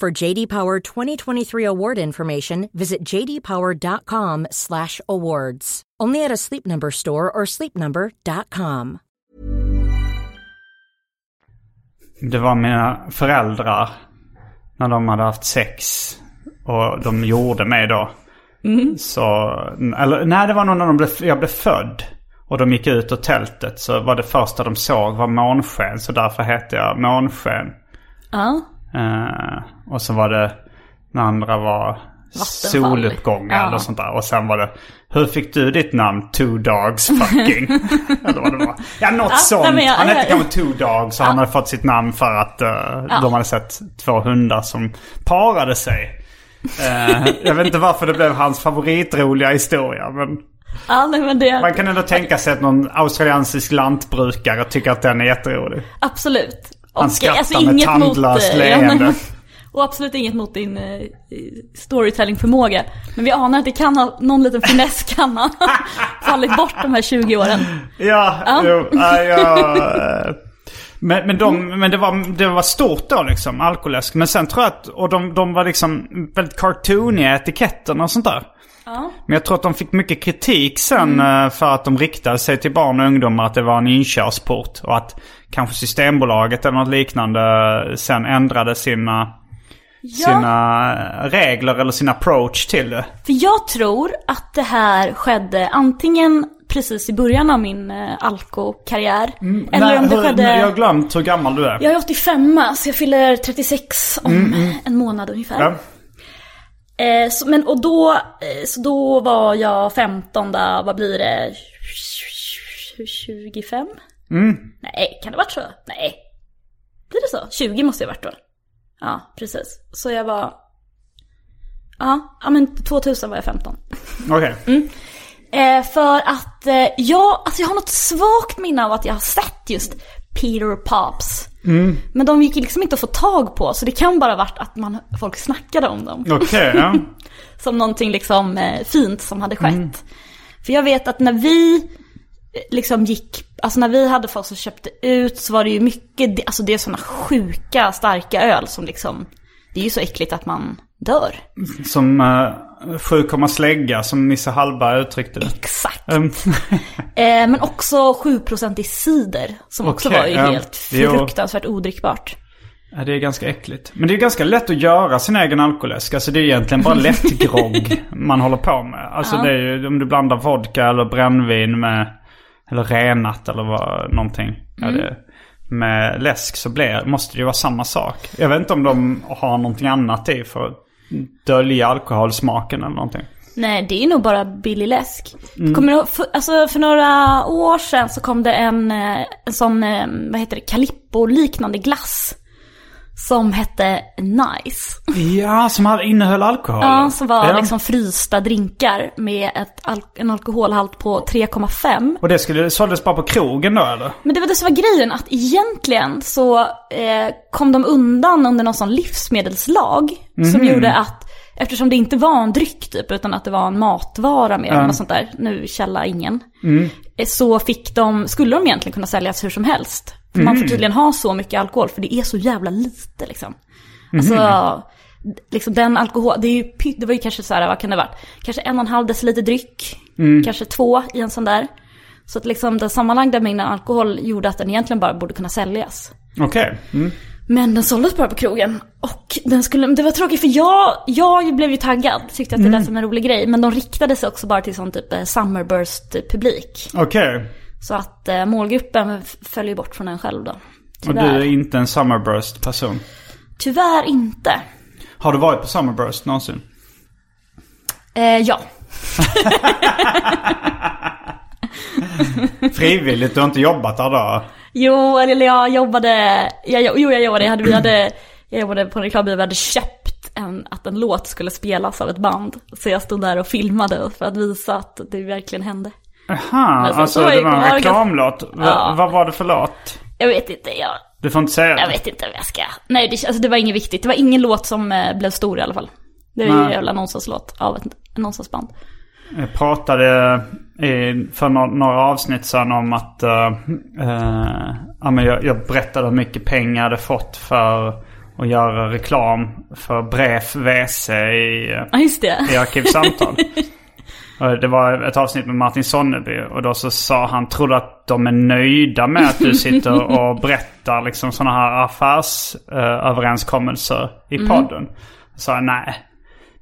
Speaker 1: For JD Power 2023 award information, visit jdpower.com/awards. Only at a Sleep Number store or sleepnumber.com.
Speaker 2: Det var mina föräldrar när de hade haft sex och de gjorde mig då. Så, eller nej det var nog när de blev, jag blev född. Och de gick ut ur tältet så var det första de såg var månsken. Så därför hette jag Månsken.
Speaker 3: Ja.
Speaker 2: Eh, och så var det, den andra var
Speaker 3: Vattenfall.
Speaker 2: soluppgångar
Speaker 3: Ja.
Speaker 2: eller sånt där. Och sen var det, hur fick du ditt namn? Two dogs fucking. eller vad det var. Ja, något sånt.
Speaker 3: nej, men jag-
Speaker 2: han hette
Speaker 3: jag-
Speaker 2: kanske Two dogs så han hade fått sitt namn för att eh, de hade sett två hundar som parade sig. Eh, jag vet inte varför det blev hans favoritroliga historia. Men
Speaker 3: Ja, nej, men det...
Speaker 2: man kan ändå tänka sig att någon australiensisk lantbrukare tycker att den är jätterolig.
Speaker 3: Absolut. Och,
Speaker 2: Han skrattar med
Speaker 3: inget mot,
Speaker 2: tandlöst
Speaker 3: eh,
Speaker 2: leende.
Speaker 3: ja, och absolut inget mot din eh, storytellingförmåga. Men vi anar att det kan ha, någon liten finess kan ha fallit bort de här 20 åren.
Speaker 2: Ja, jo, ja, ja, eh, men, men, de, men det, var, det var stort då liksom, alkoläsk. Men sen tror jag att, och de, de var liksom väldigt cartooniga i etiketten och sånt där. Men jag tror att de fick mycket kritik sen
Speaker 3: Mm.
Speaker 2: eh, för att de riktade sig till barn och ungdomar att det var en inkörsport. Och att kanske Systembolaget eller något liknande eh, sen ändrade sina, sina eh, regler eller sin approach till det.
Speaker 3: För jag tror att det här skedde antingen precis i början av min eh, alkokarriär. eller
Speaker 2: Nej,
Speaker 3: om det
Speaker 2: hur-
Speaker 3: skedde...
Speaker 2: Jag har
Speaker 3: Jag...
Speaker 2: glömt hur gammal du är.
Speaker 3: är 85 så jag fyller 36 om en månad ungefär.
Speaker 2: Mm, Ja.
Speaker 3: Eh, så, men, och då, eh, så då var jag 15, där, vad blir det? 25? Nej, kan det varit så? Nej. Blir det så? 20 måste jag varit då. Ja, precis. Så jag var... Ja, ja men 2000 var jag 15.
Speaker 2: Okej.
Speaker 3: Mm. Eh, för att eh, jag, alltså jag har något svagt minne av att jag har sett just Peter Pops. Men de gick liksom inte att få tag på, så det kan bara ha varit att man, folk snackade om dem
Speaker 2: Okej, ja.
Speaker 3: som någonting liksom eh, fint som hade skett. För jag vet att när vi eh, liksom gick, alltså när vi hade folk som köpte ut så var det ju mycket, det- alltså det är sådana sjuka starka öl som liksom, det är ju så äckligt att man dör.
Speaker 2: Som uh, sju komma slägga som Nisse Hallberg uttryckte det.
Speaker 3: Exakt.
Speaker 2: Ehm,
Speaker 3: Eh, men också 7% i cider som också
Speaker 2: Okej,
Speaker 3: var ju
Speaker 2: ja.
Speaker 3: helt
Speaker 2: Jo.
Speaker 3: fruktansvärt odrickbart.
Speaker 2: ja, det är ganska äckligt. Men det är ganska lätt att göra sin egen alkoläsk. Alltså det är egentligen bara lättgrogg man håller på med. Alltså det är ju om du blandar vodka eller brännvin med... Eller renat eller vad, någonting. Ja, det, med läsk så blir, måste det ju vara samma sak. Jag vet inte om de har någonting annat i för att dölja alkoholsmaken eller någonting.
Speaker 3: Nej, det är nog bara billig läsk. Kommer du, ihåg- för, alltså för några år sedan så kom det en, eh, en sån, eh, vad heter det, Calippo-liknande glass. Som hette Nice.
Speaker 2: Ja, som hade- innehöll alkohol.
Speaker 3: Ja, som var
Speaker 2: Ja.
Speaker 3: liksom frysta drinkar med ett, al- en alkoholhalt på 3,5.
Speaker 2: Och det skulle, såldes bara på krogen då eller?
Speaker 3: Men det var det som var grejen, att egentligen så eh, kom de undan under någon sån livsmedelslag. Som gjorde att, eftersom det inte var en dryck typ, utan att det var en matvara mer, eller något sånt där, nu källa ingen. Eh, så fick de, skulle de egentligen kunna säljas hur som helst. För man får tydligen ha så mycket alkohol, för det är så jävla lite liksom. Alltså, liksom den alkohol, det, är ju, py- det var ju kanske så här, vad kan det ha varit? Kanske en och en halv deciliter dryck, kanske två i en sån där. Så att liksom den sammanlagda mängden alkohol gjorde att den egentligen bara borde kunna säljas.
Speaker 2: Okej. Mm.
Speaker 3: Men den såldes bara på krogen. Och den skulle, det var tråkigt för jag, jag blev ju taggad, tyckte att det
Speaker 2: Mm.
Speaker 3: lät som en rolig grej. Men de riktade sig också bara till sån typ eh, Summerburst-publik.
Speaker 2: Okej.
Speaker 3: Så att eh, målgruppen f- föll ju bort från en själv då.
Speaker 2: Och du är
Speaker 3: Tyvärr.
Speaker 2: inte en Summerburst-person.
Speaker 3: Tyvärr inte.
Speaker 2: Har du varit på Summerburst någonsin?
Speaker 3: Eh, ja.
Speaker 2: Frivilligt? Du har inte jobbat där då?
Speaker 3: Jo, eller jag jobbade, jag, jo jag jobbade, jag hade, vi hade, jag jobbade på en reklambyrå, vi hade köpt än att en låt skulle spelas av ett band. Så jag stod där och filmade för att visa att det verkligen hände.
Speaker 2: Aha,
Speaker 3: Alltså,
Speaker 2: alltså,
Speaker 3: så var
Speaker 2: det var
Speaker 3: det-
Speaker 2: en reklamlåt. Va,
Speaker 3: Ja.
Speaker 2: Vad var det för låt?
Speaker 3: Jag vet inte, jag,
Speaker 2: Du får inte säga
Speaker 3: jag
Speaker 2: det.
Speaker 3: vet inte vad jag ska... Nej, det, alltså, det var inget viktigt. Det var ingen låt som eh, blev stor i alla fall. Det var ju en
Speaker 2: Nej.
Speaker 3: jävla nonsenslåt av ett nonsensband.
Speaker 2: Jag pratade i, för no- några avsnitt sedan om att eh, eh, ja, men jag, jag berättade hur mycket pengar jag hade fått för att göra reklam för Bref WC i, eh,
Speaker 3: Ja, just det.
Speaker 2: i Arkivsamtal. Och det var ett avsnitt med Martin Sonneby och då så sa han, tror du att de är nöjda med att du sitter och berättar liksom sådana här affärsöverenskommelser i
Speaker 3: Mm.
Speaker 2: podden? Jag sa nej,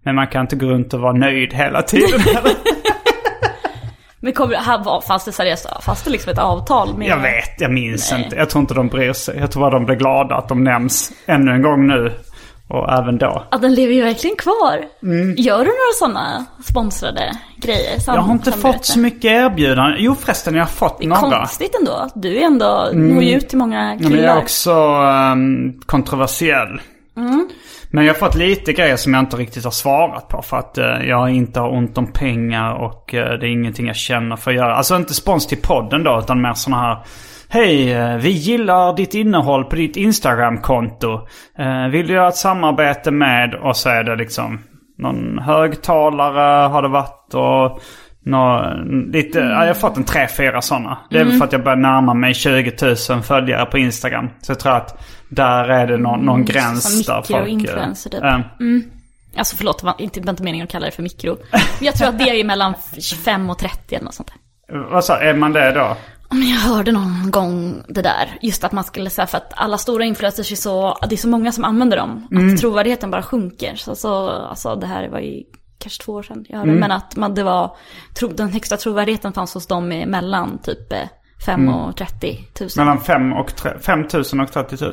Speaker 2: men man kan inte gå runt och vara nöjd hela tiden.
Speaker 3: Men kommer, här var, fanns det seriöst, fanns det liksom ett avtal med...
Speaker 2: Jag vet, jag minns inte. Jag tror inte de bryr sig. Jag tror bara de blir glada att de nämns ännu en gång nu. Och även då.
Speaker 3: Ja, den lever ju verkligen kvar. Gör du några sådana sponsrade grejer? Sam,
Speaker 2: Mm. Jag har inte
Speaker 3: samarbete?
Speaker 2: fått så mycket erbjudanden. Jo förresten, jag har fått
Speaker 3: Det är
Speaker 2: några.
Speaker 3: konstigt ändå. Du är ändå, når ju ut till många
Speaker 2: Mm. Men
Speaker 3: killar.
Speaker 2: jag är också ehm, kontroversiell. Men jag har fått lite grejer som jag inte riktigt har svarat på. För att eh, jag inte har ont om pengar och eh, det är ingenting jag känner för att göra. Alltså inte spons till podden då, utan mer sådana här... Hej, eh, vi gillar ditt innehåll på ditt Instagram-konto. Eh, Vill du göra ett samarbete med? Och så är det liksom någon högtalare har det varit och nå, lite, ja, jag har fått en tre, fyra sådana. Det är väl för att jag börjar närma mig 20 000 följare på Instagram. Så jag tror att där är det någon, någon gräns
Speaker 3: som
Speaker 2: där folk...
Speaker 3: mikroinfluencer typ.
Speaker 2: eh,
Speaker 3: Alltså förlåt, det var inte, det var inte meningen att kalla det för mikro. Men jag tror att det är mellan 25 och 30 eller något sånt där.
Speaker 2: Mm. Vad sa, är man det då?
Speaker 3: Men jag hörde någon gång det där, just att man skulle säga för att alla stora influencers är så, det är så många som använder dem,
Speaker 2: Mm.
Speaker 3: att trovärdigheten bara sjunker. Så, så, alltså det här var ju kanske två år sedan jag
Speaker 2: Mm.
Speaker 3: hörde, men att man, det var, tro, den högsta trovärdigheten fanns hos dem i mellan typ 5
Speaker 2: Mm.
Speaker 3: och 30 tusen.
Speaker 2: Mellan 5 och tre- 5 000 och 30 000?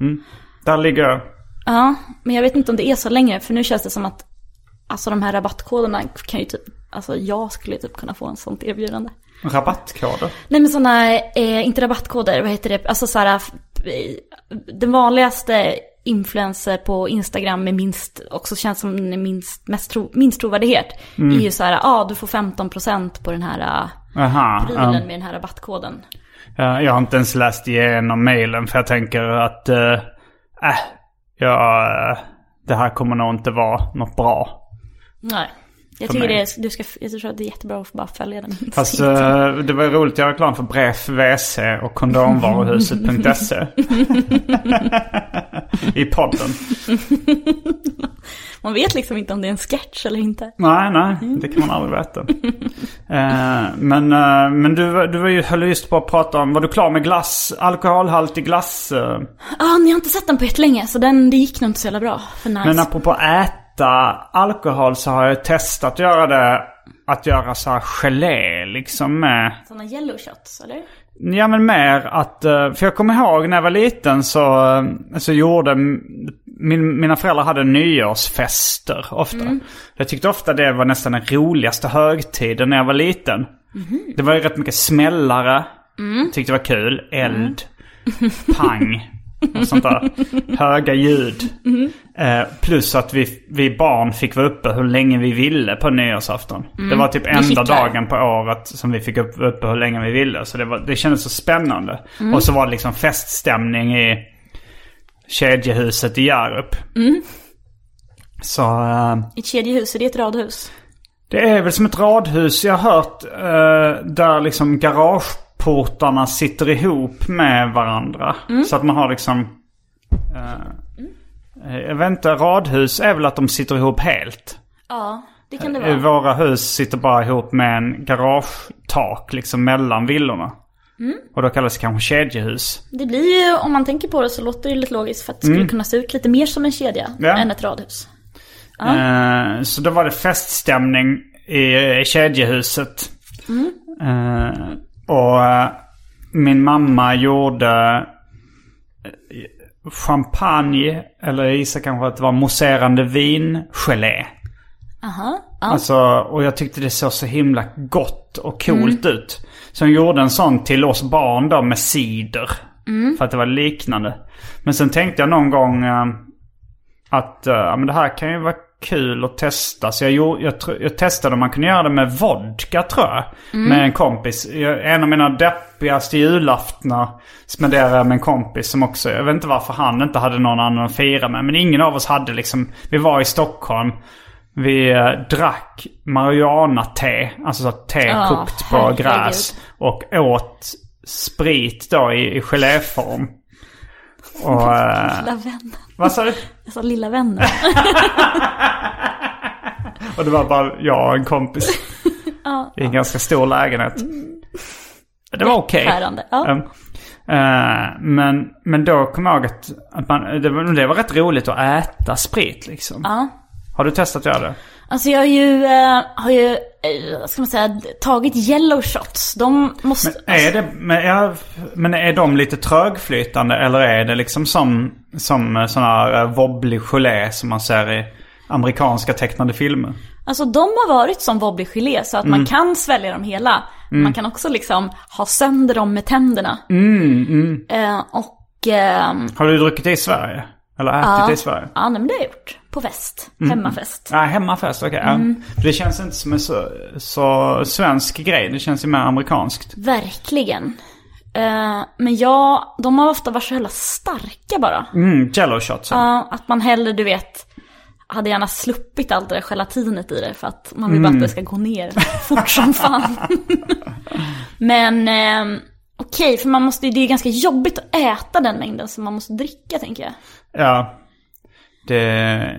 Speaker 2: Mm. Där ligger jag.
Speaker 3: Ja, men jag vet inte om det är så längre, för nu känns det som att alltså de här rabattkoderna kan ju typ, alltså jag skulle typ kunna få en sånt erbjudande.
Speaker 2: rabattkoder.
Speaker 3: Nej men sådana, eh, inte rabattkoder, vad heter det? Alltså såhär, f- eh, den vanligaste influencer på Instagram med minst, också känns som den är minst, mest tro, minst trovärdighet,
Speaker 2: Mm.
Speaker 3: är ju såhär, ja ah, du får 15% på den här eh,
Speaker 2: Aha.
Speaker 3: prylen
Speaker 2: ja.
Speaker 3: med den här rabattkoden.
Speaker 2: Ja, jag har inte ens läst igenom mailen för jag tänker att... eh, Äh, ja, eh, det här kommer nog inte vara något bra.
Speaker 3: Nej. Jag
Speaker 2: För
Speaker 3: tycker,
Speaker 2: mig.
Speaker 3: det är, du ska, jag tror att det är jättebra att bara följa den.
Speaker 2: Fast eh, det var roligt att göra reklam för Bref, WC och kondomvaruhuset.se. E. I podden.
Speaker 3: Man vet liksom inte om det är en sketch eller inte.
Speaker 2: Nej, nej, det kan man aldrig veta. Eh, men eh, men du, var- du var ju, höll just på att prata om, var du klar med glass, alkoholhaltig glass? eh?
Speaker 3: Ah, ni har inte sett den på jättelänge, så den, det gick nog inte så jävla bra för Nice.
Speaker 2: Men apropå äta alkohol så har jag testat att göra det. Att göra så här gelé liksom med...
Speaker 3: Sådana yellow shots, eller?
Speaker 2: Ja men mer att... eh, För jag kommer ihåg när jag var liten så, eh, så gjorde... m- Min, mina föräldrar hade nyårsfester ofta. Jag tyckte ofta det var nästan den roligaste högtiden när jag var liten. Det var ju rätt mycket smällare. Tyckte det var kul. Eld. Pang. Och sånt där. Höga ljud. Eh, plus att vi, vi barn fick vara uppe hur länge vi ville på nyårsafton. Det var typ enda
Speaker 3: kittlar.
Speaker 2: dagen på året som vi fick upp, vara uppe hur länge vi ville. Så det, var, det kändes så spännande. Och så var det liksom feststämning i kedjehuset i Hjärup. Så... Eh,
Speaker 3: Ett kedjehus, är det ett radhus?
Speaker 2: det är väl som ett radhus jag har hört. Eh, där liksom garageportarna sitter ihop med varandra. Så att man har liksom... Eh, jag vet inte, radhus är väl att de sitter ihop helt.
Speaker 3: Ja, det kan det
Speaker 2: Eh,
Speaker 3: vara.
Speaker 2: Våra hus sitter bara ihop med en garagetak liksom mellan villorna. Och då kallas det kanske kedjehus.
Speaker 3: Det blir ju, om man tänker på det så låter det lite logiskt för att det skulle kunna se ut lite mer som en kedja
Speaker 2: Mm. Ja.
Speaker 3: än ett radhus.
Speaker 2: Eh, så då var det feststämning i, i kedjehuset. Eh, och eh, min mamma gjorde eh, champagne, eller jag gissar kanske att det var mousserande vingelé.
Speaker 3: Aha.
Speaker 2: Alltså, och jag tyckte det såg så himla gott och coolt ut. Så hon gjorde en sån till oss barn då med cider. För att det var liknande. Men sen tänkte jag någon gång... eh, Att eh, ja, men det här kan ju vara kul att testa. Så jag, gjorde, jag, tr- jag testade om man kunde göra det med vodka tror jag. Med en kompis. Jag- En av mina deppigaste julaftnar spenderade jag med en kompis som också, jag vet inte varför han inte hade någon annan att fira med. Men ingen av oss hade liksom, vi var i Stockholm. Vi eh, drack marijuana-te, alltså så här te
Speaker 3: Ja,
Speaker 2: kokt på
Speaker 3: herregud.
Speaker 2: gräs. Och åt sprit då i, i geléform. Och, eh,
Speaker 3: Lilla vännen.
Speaker 2: vad sa du?
Speaker 3: Jag sa lilla vännen.
Speaker 2: Och det var bara jag och en kompis. I en ganska stor lägenhet. Det var okej.
Speaker 3: Tärande. Mm. Ja.
Speaker 2: Mm. Eh, men, men då kom jag ihåg att, att man, det, var, det var rätt roligt att äta sprit liksom.
Speaker 3: ja.
Speaker 2: Har du testat att göra det?
Speaker 3: Alltså jag har ju, eh, har ju, eh, vad ska man säga, tagit yellow shots. De måste...
Speaker 2: Är det, men, eh, är, men är de lite trögflytande eller är det liksom som, som sån här eh, wobbly gelé som man ser i amerikanska tecknade filmer?
Speaker 3: Alltså de har varit som wobblygelé så att man kan svälja dem hela. Man kan också liksom ha sönder dem med tänderna. Eh, och ehm,
Speaker 2: Har du druckit det i Sverige? Eller ätit det i Sverige?
Speaker 3: ja, nej, men det har jag gjort. På fest. Hemmafest.
Speaker 2: Ja, hemmafest, okej. ja.
Speaker 3: Mm.
Speaker 2: För Det känns inte som en så, så svensk grej. Det känns ju mer amerikanskt.
Speaker 3: Verkligen. Eh, men ja, de har ofta varit så jävla starka bara.
Speaker 2: Mm, jello shots. ja.
Speaker 3: Ja, att man hellre, du vet, hade gärna sluppit allt det där gelatinet i det för att man vill bara
Speaker 2: Mm.
Speaker 3: att det ska gå ner fort som fan. Men eh, okej, för man måste, ju- det är ganska jobbigt att äta den mängden som man måste dricka tänker jag.
Speaker 2: Ja. Det,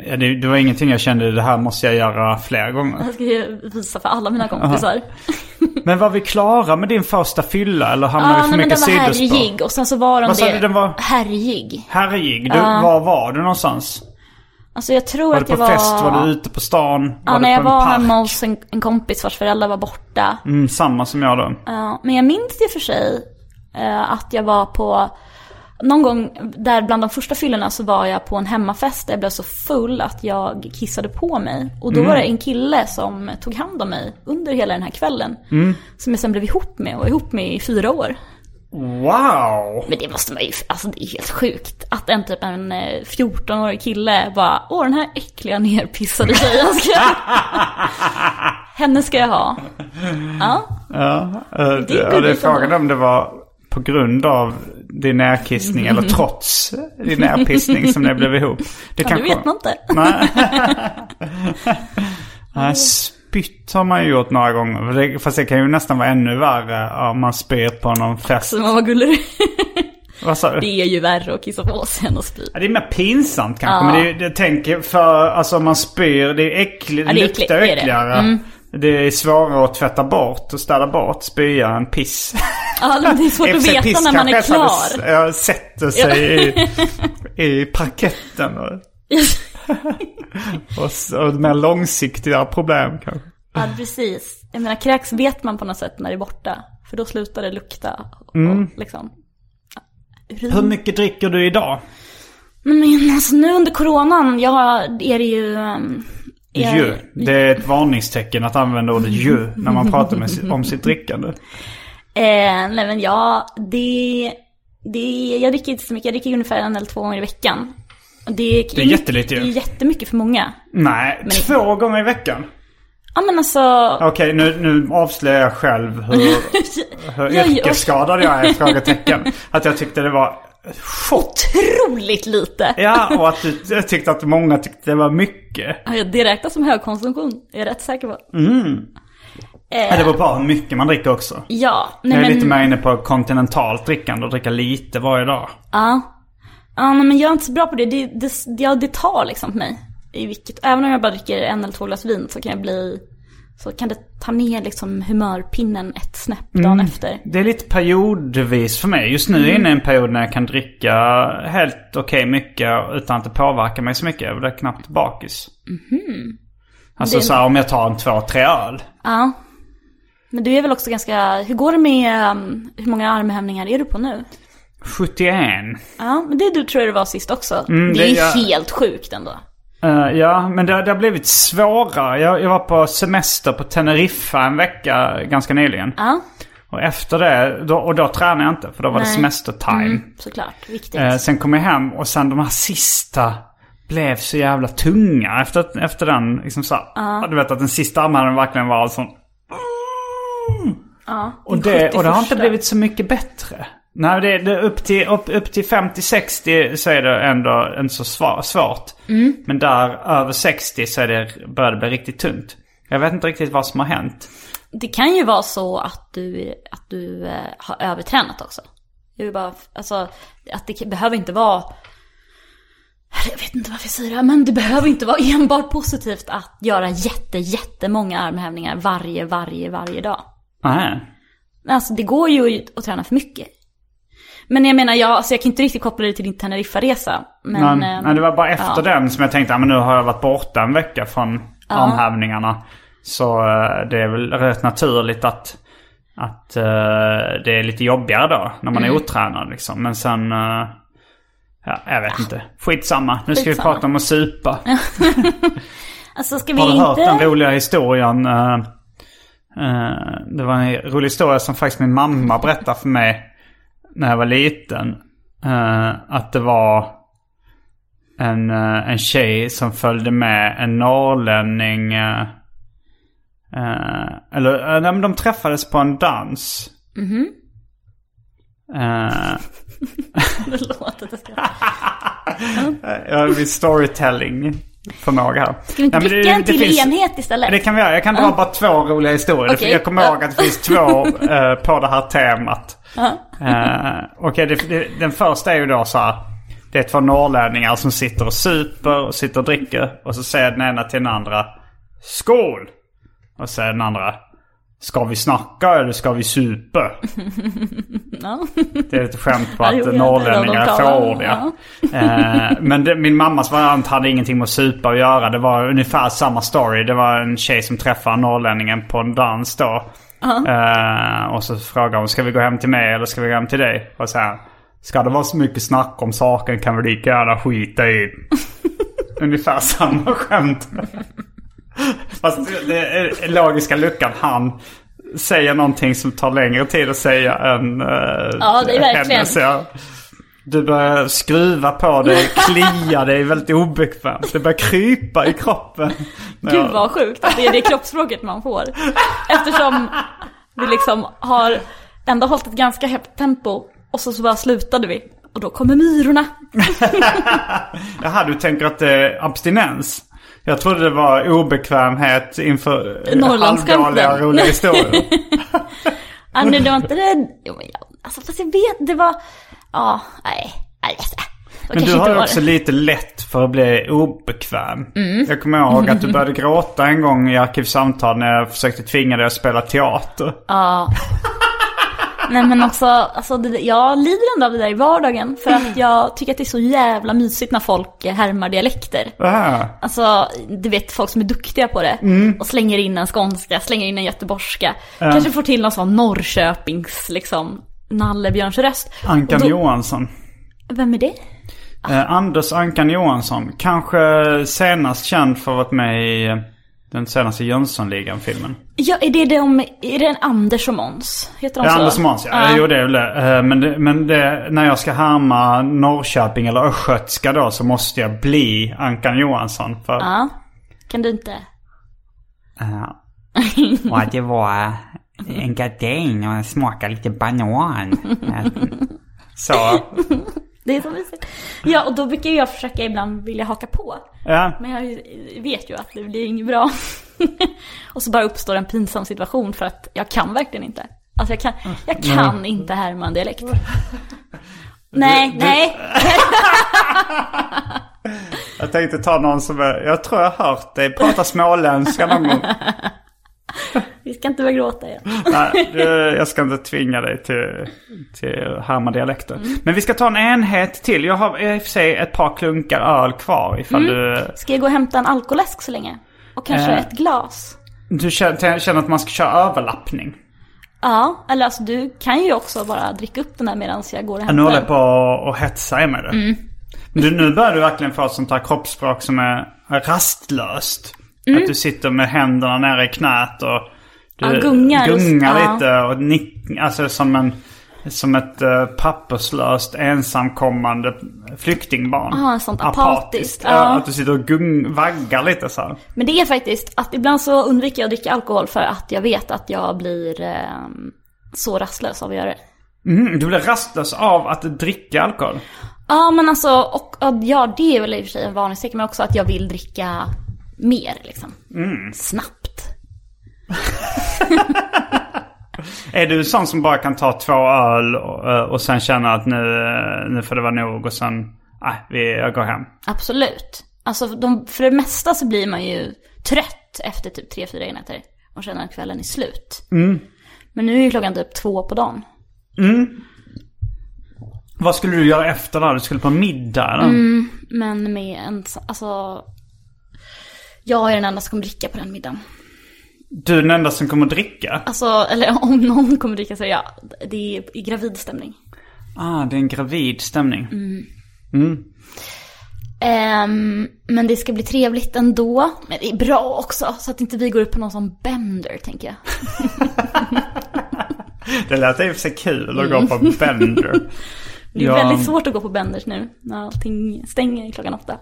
Speaker 2: ja, det, det var ingenting jag kände, det här måste jag göra fler gånger.
Speaker 3: Jag ska ju visa för alla mina kompisar.
Speaker 2: Men var vi klara med din första fylla eller hamnade
Speaker 3: Ja,
Speaker 2: vi för
Speaker 3: nej, men
Speaker 2: mycket
Speaker 3: den var
Speaker 2: sidospår?
Speaker 3: härjig och sen så var de
Speaker 2: Vad sa
Speaker 3: det.
Speaker 2: du, den var-
Speaker 3: Härjig.
Speaker 2: Herregud, du, var var du någonstans?
Speaker 3: Alltså jag tror
Speaker 2: Var du
Speaker 3: att
Speaker 2: på
Speaker 3: jag var...
Speaker 2: fest? Var du ute på stan?
Speaker 3: Ja,
Speaker 2: var
Speaker 3: när
Speaker 2: du
Speaker 3: jag
Speaker 2: på en
Speaker 3: var
Speaker 2: park?
Speaker 3: hemma hos en, en kompis vars föräldrar var borta.
Speaker 2: Mm, samma som jag då.
Speaker 3: Ja, men jag minns i och för sig eh, att jag var på, någon gång där bland de första fyllorna så var jag på en hemmafest där jag blev så full att jag kissade på mig. Och då var det en kille som tog hand om mig under hela den här kvällen. Som jag sen blev ihop med och var ihop med i fyra år.
Speaker 2: Wow!
Speaker 3: Men det måste man ju, alltså det är helt sjukt. Att en typ en eh, 14-årig kille bara, åh den här äckliga nerpissade tjejen ska jag... Henne ska jag ha. Ja.
Speaker 2: Eh,
Speaker 3: Det är
Speaker 2: ja, det är
Speaker 3: gulligt ändå.
Speaker 2: frågan om det var på grund av din närkissning eller trots din närpissning som ni blev ihop. Det
Speaker 3: Ja, det vet man inte.
Speaker 2: Nej, spytt har man ju gjort några gånger. Det- Fast det kan ju nästan vara ännu värre om man spyr på någon fest.
Speaker 3: Så man vad gullig
Speaker 2: Vad sa du?
Speaker 3: Det är ju värre att kissa på sig än att spy.
Speaker 2: Ja, Det är mer pinsamt kanske. Men det är, ju- jag tänker för, alltså om man spyr, det är äckligt,
Speaker 3: Ja,
Speaker 2: det
Speaker 3: det är
Speaker 2: luktar
Speaker 3: äckligt, det Mm. är det.
Speaker 2: äckligare. Det är svårare att tvätta bort och städa bort spya än piss.
Speaker 3: Ja, men Alltså, det är svårt
Speaker 2: I och för
Speaker 3: att
Speaker 2: sig,
Speaker 3: veta
Speaker 2: piss
Speaker 3: när man är
Speaker 2: kanske
Speaker 3: klar.
Speaker 2: ens hade s- ja, sätter sig i, i parketten. Och, och, s- och mer långsiktiga problem kanske.
Speaker 3: Ja, precis. Jag menar, kräks vet man på något sätt när det är borta. För då slutar det lukta. Och,
Speaker 2: Mm.
Speaker 3: liksom.
Speaker 2: Hur mycket dricker du idag?
Speaker 3: Men alltså nu under coronan, ja, är det ju... ehm, är-
Speaker 2: Ju. Det är ett varningstecken att använda ordet ju när man pratar med, si- om sitt drickande.
Speaker 3: Eh, nej men ja, det, det... Jag dricker inte så mycket. Jag dricker ungefär en eller två gånger i veckan. Och Det,
Speaker 2: Det är jättelite ju.
Speaker 3: Det är jättemycket för många.
Speaker 2: Nej, två gånger i veckan.
Speaker 3: Ja men alltså...
Speaker 2: Okej, nu, nu avslöjar jag själv hur, hur
Speaker 3: Jag-
Speaker 2: yrkesskadad jag är, frågetecken. Att jag tyckte det var shot.
Speaker 3: Otroligt lite!
Speaker 2: Ja, och att du jag tyckte att många tyckte det var mycket.
Speaker 3: Ja, Det räknas som högkonsumtion, är jag rätt säker på. Eh,
Speaker 2: Ja, Mm. det beror på hur mycket man dricker också.
Speaker 3: Ja, nej
Speaker 2: Jag är
Speaker 3: men...
Speaker 2: lite mer inne på kontinentalt drickande och dricka lite varje dag.
Speaker 3: Ja. ja nej, men jag är inte så bra på det. Det, det, ja, det tar liksom på mig. I vilket, även om jag bara dricker en eller två glas vin så kan jag bli... Så kan det ta ner liksom humörpinnen ett snäpp dagen
Speaker 2: Mm.
Speaker 3: efter.
Speaker 2: Det är lite periodvis för mig. Just nu är jag inne i en period när jag kan dricka helt okej mycket utan att det påverkar mig så mycket. Jag blir knappt bakis. Alltså
Speaker 3: Mhm. Det-
Speaker 2: så här, om jag tar en två, tre öl.
Speaker 3: Ja. Men du är väl också ganska... Hur går det med... ehm, hur många armhävningar är du på nu?
Speaker 2: 71.
Speaker 3: Ja, men det du tror jag det var sist också. det
Speaker 2: Mm, det
Speaker 3: är ju
Speaker 2: jag-
Speaker 3: helt sjukt ändå.
Speaker 2: Eh, ja, men det, det har blivit svårare. Jag, jag var på semester på Teneriffa en vecka ganska nyligen.
Speaker 3: Ja,
Speaker 2: Och efter det, då, och då tränade jag inte för då var det
Speaker 3: Nej. Mm.
Speaker 2: semestertime.
Speaker 3: såklart. Viktigt.
Speaker 2: Eh, sen kom jag hem och sen de här sista blev så jävla tunga efter, efter den. Liksom så här, Du vet att den sista armhävningen verkligen var alltså... och, det, och det har inte
Speaker 3: 71:a.
Speaker 2: blivit så mycket bättre. Nej, det, det är upp till, upp, upp till 50-60 så är det ändå inte så svar, svårt. Men där över 60 så är det, börjar det bli riktigt tungt. Jag vet inte riktigt vad som har hänt.
Speaker 3: Det kan ju vara så att du, att du eh, har övertränat också. Jag vill bara, alltså, att det behöver inte vara... Jag vet inte varför jag säger det här, men det behöver inte vara enbart positivt att göra jätte, jättemånga armhävningar varje, varje, varje dag.
Speaker 2: Nej.
Speaker 3: Alltså det går ju att träna för mycket. Men jag menar, jag, alltså, jag kan inte riktigt koppla det till din Teneriffa-resa. Men,
Speaker 2: Men,
Speaker 3: eh,
Speaker 2: nej, det var bara efter den som jag tänkte, "Ja, men nu har jag varit borta en vecka från armhävningarna. Så eh, det är väl rätt naturligt att, att eh, det är lite jobbigare då, när man är
Speaker 3: Mm.
Speaker 2: otränad liksom. Men sen, eh, ja, jag vet inte. Skitsamma, nu ska
Speaker 3: Skitsamma.
Speaker 2: vi prata om att supa.
Speaker 3: Alltså ska vi
Speaker 2: Har du hört
Speaker 3: inte...
Speaker 2: den roliga historien? eh, eh, det var en rolig historia som faktiskt min mamma berättade för mig när jag var liten. Eh, att det var en, eh, en tjej som följde med en norrlänning. eh, eh, eller eh, nej, men de träffades på en dans.
Speaker 3: Mhm.
Speaker 2: Eh,
Speaker 3: Förlåt att jag ska...
Speaker 2: jag har min eh, storytelling förmåga här.
Speaker 3: Ska vi inte dricka en till enhet istället?
Speaker 2: Det kan vi göra. Jag kan dra bara två roliga historier.
Speaker 3: Okej.
Speaker 2: Jag kommer ihåg att det finns två eh, på det här temat. Eh, Okej, det- det- den första är ju då så här. Det är två norrlänningar som sitter och super och sitter och dricker. Och så säger den ena till den andra Skål! Och så säger den andra Ska vi snacka eller ska vi supa? Det är lite skämt på
Speaker 3: Ja, jo,
Speaker 2: att
Speaker 3: jag
Speaker 2: norrlänningar är
Speaker 3: vet inte vad de
Speaker 2: fåordiga. Eh, Men det, min mammas variant hade ingenting med att supa att göra. Det var ungefär samma story. Det var en tjej som träffade norrlänningen på en dans då. Eh, och så frågade hon, ska vi gå hem till mig eller ska vi gå hem till dig? Och så här, ska det vara så mycket snack om saken kan vi lika gärna skita i. ungefär samma skämt. Fast det- det är logiska luckan, han säger någonting som tar längre tid att säga än eh,
Speaker 3: Ja, det är verkligen.
Speaker 2: henne, så jag- du börjar skruva på dig, klia dig väldigt obekvämt. Det börjar krypa i kroppen. när
Speaker 3: Gud
Speaker 2: jag-
Speaker 3: vad sjukt att det är det kroppsspråket man får. Eftersom vi liksom har ändå hållit ett ganska högt tempo och så, så bara slutade vi. Och då kommer myrorna.
Speaker 2: Jaha, du tänker att det är abstinens? Jag trodde det var obekvämhet inför eh,
Speaker 3: Norrlandsskämten.
Speaker 2: halvdåliga roliga historier.
Speaker 3: Ah, nej, det var inte det. Jo, men jag, alltså fast jag vet, det var... Ja, nej. nej alltså, det var
Speaker 2: Men
Speaker 3: kanske
Speaker 2: du har
Speaker 3: inte
Speaker 2: ju
Speaker 3: var
Speaker 2: också
Speaker 3: det. Mm.
Speaker 2: lite lätt för att bli obekväm. Jag kommer ihåg att du började gråta en gång i Arkivsamtal när jag försökte tvinga dig att spela teater.
Speaker 3: Nej men också, alltså, det, jag lider ändå av det där i vardagen. För att jag tycker att det är så jävla mysigt när folk eh, härmar dialekter.
Speaker 2: Ah.
Speaker 3: Alltså, du vet folk som är duktiga på det.
Speaker 2: Mm.
Speaker 3: Och slänger in en skånska, slänger in en göteborgska. Kanske får till någon sån Norrköpings, liksom, Nallebjörnsröst.
Speaker 2: Ankan
Speaker 3: Och då-
Speaker 2: Johansson.
Speaker 3: Vem är det?
Speaker 2: Eh, Anders Ankan Johansson. Kanske senast känd för att ha varit med i eh, den senaste Jönssonligan-filmen.
Speaker 3: Ja, är det de, är det en Anders och Måns? Heter de
Speaker 2: Ja,
Speaker 3: så?
Speaker 2: Anders Måns, ja. Jo, det är väl det. Eh, Men, det, men det, när jag ska härma Norrköping eller östgötska då så måste jag bli Ankan Johansson. För,
Speaker 3: Ja. Kan du inte?
Speaker 5: Ja. Och att det var en gardin och smakade lite banan.
Speaker 2: Så,
Speaker 3: Det är så mysigt. Ja, och då brukar jag försöka ibland vilja haka på.
Speaker 2: ja.
Speaker 3: Men jag vet ju att det blir inget bra. och så bara uppstår en pinsam situation för att jag kan verkligen inte. Alltså jag kan, jag
Speaker 2: Mm.
Speaker 3: kan inte härma en dialekt. Nej, nej.
Speaker 2: Jag tänkte ta någon som är, jag tror jag har hört dig prata småländska någon gång.
Speaker 3: Vi ska inte börja gråta igen.
Speaker 2: Nej, du, jag ska inte tvinga dig till, till härma dialekter. Men vi ska ta en enhet till. Jag har i och för sig ett par klunkar öl kvar ifall du
Speaker 3: Ska jag gå och hämta en alkoläsk så länge? Och kanske
Speaker 2: Eh.
Speaker 3: ett glas?
Speaker 2: Du känner, känner att man ska köra överlappning?
Speaker 3: Ja, eller alltså du kan ju också bara dricka upp den där medan jag går och
Speaker 2: Ja, nu
Speaker 3: hämtar
Speaker 2: håller jag
Speaker 3: den.
Speaker 2: på att- att hetsa er med det.
Speaker 3: Mm.
Speaker 2: Men Du, nu börjar du verkligen få ett sånt här kroppsspråk som är rastlöst. Att du sitter med händerna nere i knät och du
Speaker 3: Mm. Ja, gungar och-
Speaker 2: gungar
Speaker 3: ja.
Speaker 2: lite och nick, alltså som en Som ett eh, papperslöst ensamkommande flyktingbarn.
Speaker 3: Ah, sånt apatiskt,
Speaker 2: Ja,
Speaker 3: ja.
Speaker 2: Att du sitter och gung, vaggar lite så här.
Speaker 3: Men det är faktiskt att ibland så undviker jag att dricka alkohol för att jag vet att jag blir ehm, så rastlös av att göra det.
Speaker 2: Mm, du blir rastlös av att dricka alkohol.
Speaker 3: Ja men alltså, och, och ja det är väl i och för sig en varningstecken men också att jag vill dricka mer liksom. Snabbt.
Speaker 2: Är du sån som bara kan ta två öl och, eh, och sen känna att nu, eh, nu får det vara nog och sen, nej, vi, jag går hem.
Speaker 3: Absolut. Alltså de, för det mesta så blir man ju trött efter typ tre fyra enheter och känner att kvällen är slut. Men nu är ju klockan typ två på dagen.
Speaker 2: Vad skulle du göra efter det här? Du skulle på middag eller?
Speaker 3: Mm. Men med en, alltså... Jag är den enda som kommer dricka på den middagen.
Speaker 2: Du är den enda som kommer att dricka?
Speaker 3: Alltså, eller om någon kommer dricka så är jag, det är i gravid stämning.
Speaker 2: Ah, det är en gravid stämning.
Speaker 3: Mm. Ehm, men det ska bli trevligt ändå. Men det är bra också, så att inte vi går upp på någon som bender, tänker jag.
Speaker 2: Det lät i och för sig kul att gå på bender.
Speaker 3: Mm. Det är
Speaker 2: Ja.
Speaker 3: väldigt svårt att gå på benders nu, när allting stänger klockan åtta.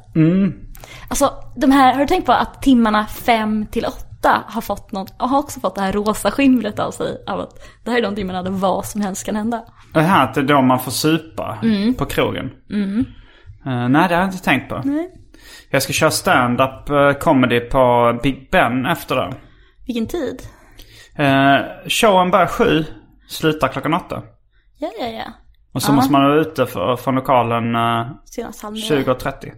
Speaker 3: Alltså, de här, har du tänkt på att timmarna fem till åtta har fått något, har också fått det här rosa skimret av sig, av att det här är de timmarna där vad som helst kan hända.
Speaker 2: Det här att det är då man får supa
Speaker 3: Mm.
Speaker 2: på krogen. Eh, nej, det har jag inte tänkt på. Jag ska köra stand-up eh, comedy på Big Ben efter det.
Speaker 3: Vilken tid.
Speaker 2: Uh, showen börjar sju, slutar klockan åtta.
Speaker 3: Ja, ja, ja.
Speaker 2: Och så måste man vara ute för, från lokalen eh,
Speaker 3: Senast halv nio.
Speaker 2: 20.30.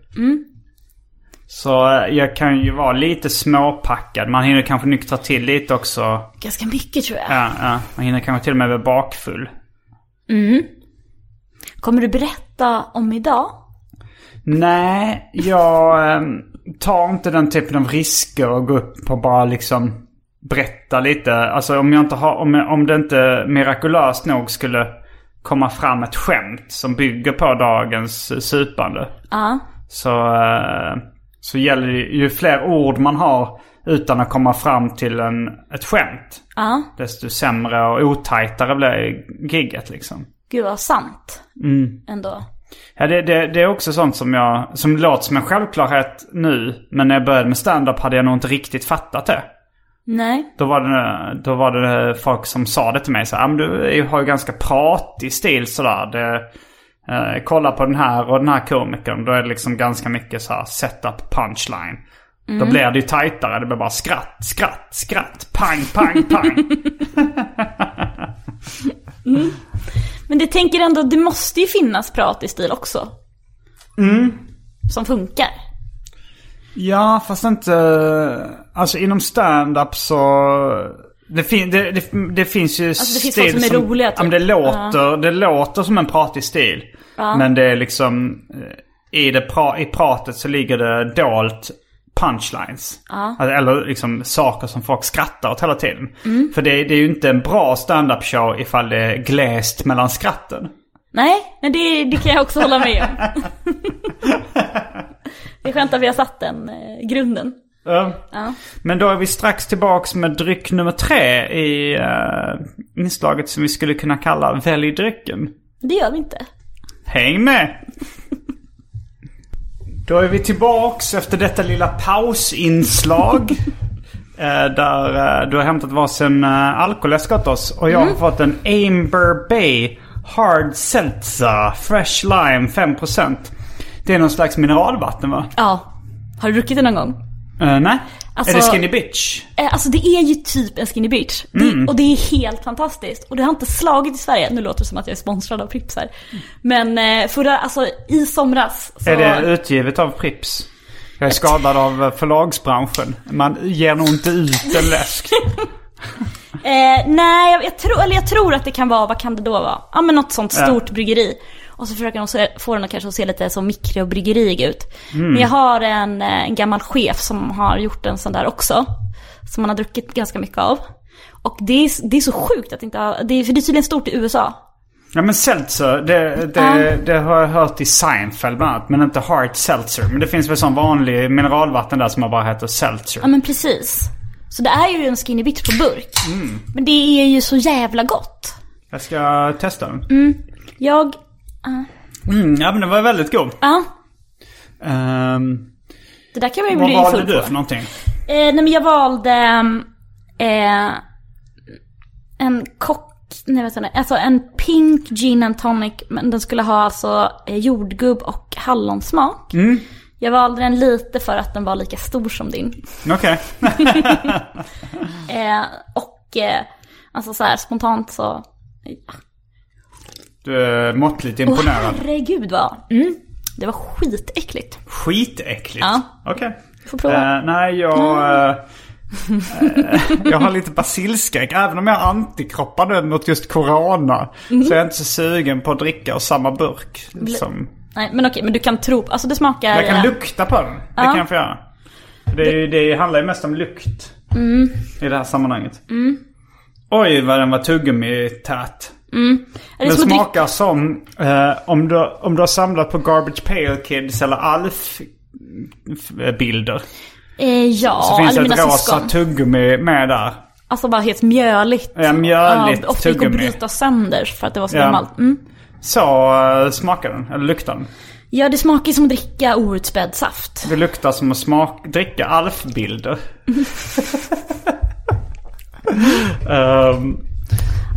Speaker 2: Så eh, jag kan ju vara lite småpackad. Man hinner kanske nyktra till lite också.
Speaker 3: Ganska mycket tror jag.
Speaker 2: Ja, ja. Man hinner kanske till och med vara bakfull.
Speaker 3: Kommer du berätta om idag?
Speaker 2: Nej, jag eh, tar inte den typen av risker och går upp och bara liksom berätta lite. Alltså om, jag inte har, om, jag- om det inte mirakulöst nog skulle komma fram ett skämt som bygger på dagens supande.
Speaker 3: Ja.
Speaker 2: Så, eh, så gäller det ju ju fler ord man har utan att komma fram till en, ett skämt.
Speaker 3: Ja.
Speaker 2: Desto sämre och otajtare blir gigget liksom.
Speaker 3: Gud vad sant. Ändå.
Speaker 2: Ja, det, det, det är också sånt som jag, som låter som en självklarhet nu. Men när jag började med stand-up hade jag nog inte riktigt fattat det.
Speaker 3: Nej.
Speaker 2: Då var det, då var det folk som sa det till mig så här, "Ah, men du är ju- har ju ganska pratig stil sådär. Det, eh, kolla på den här och den här komikern. Då är det liksom ganska mycket så här setup punchline. Då blir det ju tajtare. Det blir bara skratt, skratt, skratt, pang, pang, pang.
Speaker 3: Men det tänker ändå, det måste ju finnas prat i stil också.
Speaker 2: Mm.
Speaker 3: Som funkar.
Speaker 2: Ja, fast inte... Alltså inom stand-up så... Det, fin- det, det, det finns ju
Speaker 3: Alltså, det finns folk som är roliga, typ.
Speaker 2: ja, men det, låter, det låter som en pratig stil. Men det är liksom... eh, I, det pra- I pratet så ligger det dolt punchlines. Alltså, eller liksom saker som folk skrattar åt hela tiden.
Speaker 3: Mm.
Speaker 2: För det, det är ju inte en bra stand-up show ifall det är glest mellan skratten.
Speaker 3: Nej, men det, det kan jag också hålla med om. det är skönt att vi har satt den eh, grunden.
Speaker 2: Ja. Men då är vi strax tillbaks med dryck nummer tre i eh, inslaget som vi skulle kunna kalla Välj drycken.
Speaker 3: Det gör vi inte.
Speaker 2: Häng med! Då är vi tillbaks efter detta lilla pausinslag. eh, där eh, du har hämtat varsin eh, alkoläsk åt oss. Och jag har fått en Amber Bay Hard Seltzer Fresh Lime 5%. Det är någon slags mineralvatten va?
Speaker 3: Ja. Har du druckit det någon gång?
Speaker 2: Eh, nej?
Speaker 3: Alltså-
Speaker 2: Är det Skinny Bitch?
Speaker 3: Eh, Alltså det är ju typ en skinny bitch.
Speaker 2: Mm.
Speaker 3: Det, och det är helt fantastiskt. Och det har inte slagit i Sverige. Nu låter det som att jag är sponsrad av Pripps här. Men eh, förra, alltså i somras så...
Speaker 2: Är det utgivet av Pripps? Jag är skadad av eh, förlagsbranschen. Man ger nog inte ut en läsk.
Speaker 3: Eh, nej, jag, jag, tror- eller jag tror att det kan vara, vad kan det då vara? Ja men något sånt
Speaker 2: Ja.
Speaker 3: stort bryggeri. Och så försöker de se, få den att kanske se lite så mikrobryggerig ut.
Speaker 2: Mm.
Speaker 3: Men jag har en, eh, en gammal chef som har gjort en sån där också. Som man har druckit ganska mycket av. Och det är, det är så sjukt att det inte har, det är, för det är tydligen stort i USA.
Speaker 2: Ja men seltzer, det, det, det har jag hört i Seinfeld bland annat. Men inte hard seltzer. Men det finns väl sån vanlig mineralvatten där som bara heter seltzer.
Speaker 3: Ja men
Speaker 2: Mm.
Speaker 3: precis. Så det är ju en skinny bitch på burk. Men det är ju så jävla gott.
Speaker 2: Jag ska testa den.
Speaker 3: Jag,
Speaker 2: Mm, ja men den var väldigt god.
Speaker 3: ja,
Speaker 2: Ehm,
Speaker 3: det där kan man ju
Speaker 2: vad
Speaker 3: bli
Speaker 2: valde
Speaker 3: full
Speaker 2: du
Speaker 3: på.
Speaker 2: för någonting?
Speaker 3: Eh, nej men jag valde ehm, eh, en kock, nej vet inte, alltså en pink gin and tonic men den skulle ha alltså eh, jordgubb och hallonsmak.
Speaker 2: Mm.
Speaker 3: Jag valde den lite för att den var lika stor som din.
Speaker 2: Okej.
Speaker 3: Eh, och eh, alltså så här spontant så,
Speaker 2: Du är måttligt
Speaker 3: Åh
Speaker 2: imponerad.
Speaker 3: herregud vad, mm, det var skitäckligt.
Speaker 2: Skitäckligt.
Speaker 3: Ja.
Speaker 2: Okej.
Speaker 3: Får prova. Mm.
Speaker 2: Eh, nej, jag... eh, eh, jag har lite basilskräck. Även om jag har antikroppar nu mot just corona.
Speaker 3: Mm.
Speaker 2: Så jag är inte så sugen på att dricka ur samma burk. Som,
Speaker 3: Nej men okej, men du kan tro, alltså det smakar...
Speaker 2: jag
Speaker 3: eh,
Speaker 2: kan lukta på den. Det kan jag få göra. Det, är ju- det handlar ju mest om lukt.
Speaker 3: Mm.
Speaker 2: I det här sammanhanget. Oj, vad den var tuggummi-tät.
Speaker 3: är det
Speaker 2: Den
Speaker 3: som att dricka-
Speaker 2: smakar som eh, om, du, om du har samlat på Garbage Pail Kids eller Alf-bilder.
Speaker 3: Eh, ja,
Speaker 2: Så finns det
Speaker 3: eller
Speaker 2: ett
Speaker 3: mina
Speaker 2: rosa
Speaker 3: syskon.
Speaker 2: tuggummi med där.
Speaker 3: Alltså bara helt mjöligt.
Speaker 2: Ja, mjöligt
Speaker 3: och det gick att
Speaker 2: tuggummi.
Speaker 3: bryta sönder för att det var så
Speaker 2: Ja.
Speaker 3: gammalt. Mm.
Speaker 2: Så eh, smakar den, eller luktar den.
Speaker 3: Ja, det smakar ju som att dricka outspädd saft.
Speaker 2: Det luktar som att smak, dricka Alf-bilder. Ehm,